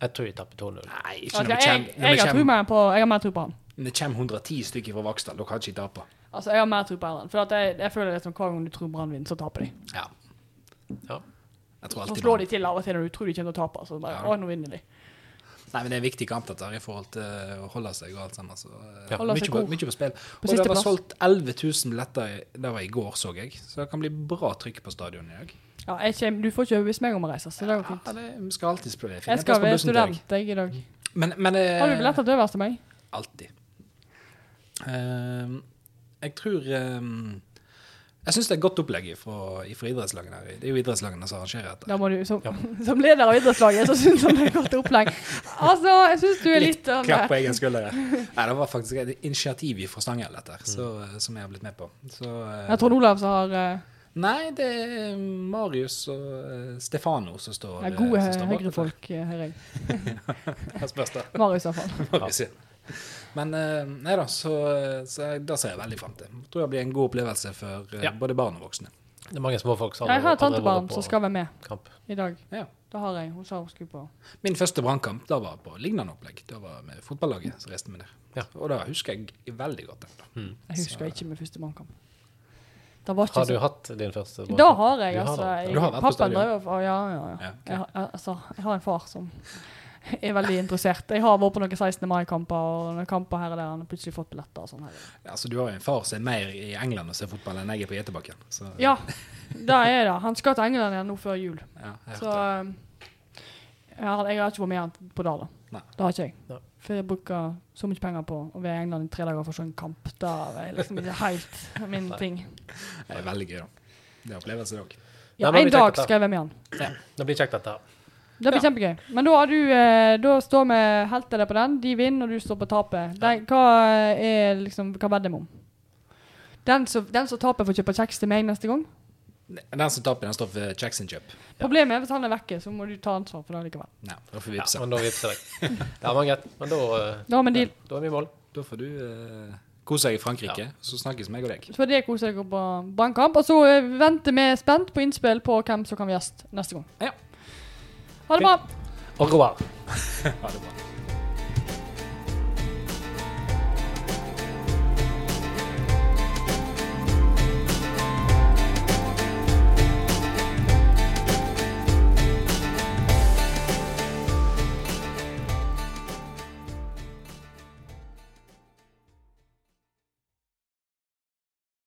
[SPEAKER 1] Jeg tror de taper 2-0.
[SPEAKER 2] Nei, ikke
[SPEAKER 3] Altså,
[SPEAKER 2] når det
[SPEAKER 3] jeg,
[SPEAKER 2] kommer- når
[SPEAKER 3] jeg,
[SPEAKER 2] det
[SPEAKER 3] har tro
[SPEAKER 2] kommer-
[SPEAKER 3] mer på, jeg har mer tro på han.
[SPEAKER 2] når det kommer 110 stykker fra Vaksdal. Dere har ikke tapa.
[SPEAKER 3] Altså, Jeg har mer tro på Erland. For at jeg, jeg føler det som hver gang du tror Brann vinner, så taper de.
[SPEAKER 2] Ja.
[SPEAKER 1] Ja.
[SPEAKER 2] Jeg tror
[SPEAKER 3] Så
[SPEAKER 2] alltid
[SPEAKER 3] slår de til av og til når du tror de kommer til å tape. Så bare,
[SPEAKER 2] Ja.
[SPEAKER 3] å, nå vinner de.
[SPEAKER 2] Nei, men det er en viktig kamp dette her i forhold til eh, å holde seg og alt sammen. Så, eh,
[SPEAKER 1] Ja.
[SPEAKER 3] Holde
[SPEAKER 2] mye,
[SPEAKER 3] seg
[SPEAKER 2] på,
[SPEAKER 3] god.
[SPEAKER 2] mye på spill. Og
[SPEAKER 3] siste
[SPEAKER 2] det var
[SPEAKER 3] plass.
[SPEAKER 2] solgt 11 000 billetter, i- det var i går, så jeg. Så det kan bli bra trykk på stadionet i dag.
[SPEAKER 3] Ja, jeg kjem, Du får ikke overbevist meg om å reise, så det går
[SPEAKER 2] Ja,
[SPEAKER 3] fint.
[SPEAKER 2] det- vi skal alltid spille.
[SPEAKER 3] Jeg skal være student jeg i dag.
[SPEAKER 2] Men, men eh,
[SPEAKER 3] Har du billetter til øverst til meg?
[SPEAKER 2] Alltid. Ehm, jeg tror ehm, Jeg syns det er et godt opplegg fra idrettslagene. her. Det er jo idrettslagene som arrangerer dette.
[SPEAKER 3] Da må du, som, som leder av idrettslaget så syns han det er godt opplegg. Altså, jeg syns du er litt uh,
[SPEAKER 2] Klapp på egen skulder. Nei, det var faktisk et initiativ fra Stanghelle, dette her, så, som jeg har blitt med på. Så, eh,
[SPEAKER 3] Jeg tror Olav som har eh,
[SPEAKER 2] Nei, det er Marius og eh, Stefano som står,
[SPEAKER 3] Det
[SPEAKER 2] eh,
[SPEAKER 3] er gode
[SPEAKER 2] som står bak dette.
[SPEAKER 3] høyrefolk, eh, hører jeg.
[SPEAKER 2] Her spørs det.
[SPEAKER 3] Marius iallfall.
[SPEAKER 2] Marius igjen. Men eh, nei da, så, eh, så jeg- det ser jeg veldig fram til. Tror det blir en god opplevelse for eh,
[SPEAKER 1] Ja.
[SPEAKER 2] både barn og voksne.
[SPEAKER 1] Det er mange småfolk som
[SPEAKER 3] Jeg har et
[SPEAKER 1] aldri vært
[SPEAKER 3] tantebarn
[SPEAKER 1] på
[SPEAKER 3] som skal være med
[SPEAKER 1] kamp.
[SPEAKER 3] i dag.
[SPEAKER 2] Ja.
[SPEAKER 3] Det har jeg. Hun sa hun skulle på.
[SPEAKER 2] Min første brannkamp da var på lignende opplegg. Da var med fotballaget som reiste med der.
[SPEAKER 1] Ja.
[SPEAKER 2] Og da husker jeg veldig godt den. da.
[SPEAKER 3] Jeg husker ikke min første mannkamp. Det var ikke
[SPEAKER 1] Har du
[SPEAKER 3] så
[SPEAKER 1] hatt din første
[SPEAKER 3] Da har jeg,
[SPEAKER 1] Du har
[SPEAKER 3] altså.
[SPEAKER 1] det.
[SPEAKER 3] Jeg,
[SPEAKER 2] Du har vært på
[SPEAKER 3] pappaen
[SPEAKER 2] stadion?
[SPEAKER 3] drev og Ja, ja, ja.
[SPEAKER 2] Ja, ok.
[SPEAKER 3] Jeg, har- altså, jeg har en far som er veldig interessert. Jeg har vært på noen 16. mai-kamper og noen kamper her og der. Han har plutselig fått billetter og sånn. her.
[SPEAKER 2] Ja, så Altså, du har jo en far som er mer i England og ser fotball enn jeg er på Gjetebakken. Så,
[SPEAKER 3] Ja, det er det. Han skal til England igjen nå før jul.
[SPEAKER 2] ja, jeg
[SPEAKER 3] Så
[SPEAKER 2] hørte det.
[SPEAKER 3] um, jeg har, jeg har ikke vært med igjen på det. da.
[SPEAKER 2] Nei.
[SPEAKER 3] Det har ikke jeg.
[SPEAKER 1] Nei.
[SPEAKER 3] For jeg bruker så mye penger på å være i England i tre dager for å se en kamp. Det er liksom ikke helt min ting.
[SPEAKER 2] det er veldig gøy, da. Det er opplevelse, det òg.
[SPEAKER 1] Nei,
[SPEAKER 3] Ja,
[SPEAKER 1] men
[SPEAKER 3] en
[SPEAKER 1] vi sjekker
[SPEAKER 3] dag
[SPEAKER 1] dette.
[SPEAKER 3] skal jeg være med igjen.
[SPEAKER 1] Det blir kjekt, dette. her.
[SPEAKER 3] Det blir kjempegøy. Men da, har du, eh, da står vi helter deg på den. De vinner, og du står på tapet. Den, hva er liksom, hva vedder vi om? Den som, den som taper, får kjøpe kjeks til meg neste gang.
[SPEAKER 2] Den som taper, den står for Jackson Cup.
[SPEAKER 3] Problemet er hvis han er vekke, så må du ta ansvar for det likevel.
[SPEAKER 2] Nei, da får vi
[SPEAKER 1] Ja,
[SPEAKER 2] vippse.
[SPEAKER 1] men da vipser jeg. Ja, men greit. Men da, eh,
[SPEAKER 3] Da har vi en deal.
[SPEAKER 1] da er vi i mål.
[SPEAKER 2] Da får du eh, kose deg i Frankrike, så snakkes meg og deg.
[SPEAKER 3] Så får det kose dere på brannkamp. Og så eh, venter vi spent på innspill på hvem som kan være gjest neste gang.
[SPEAKER 2] Ja.
[SPEAKER 3] Ha det bra.
[SPEAKER 1] Au revoir.
[SPEAKER 2] Ha det bra.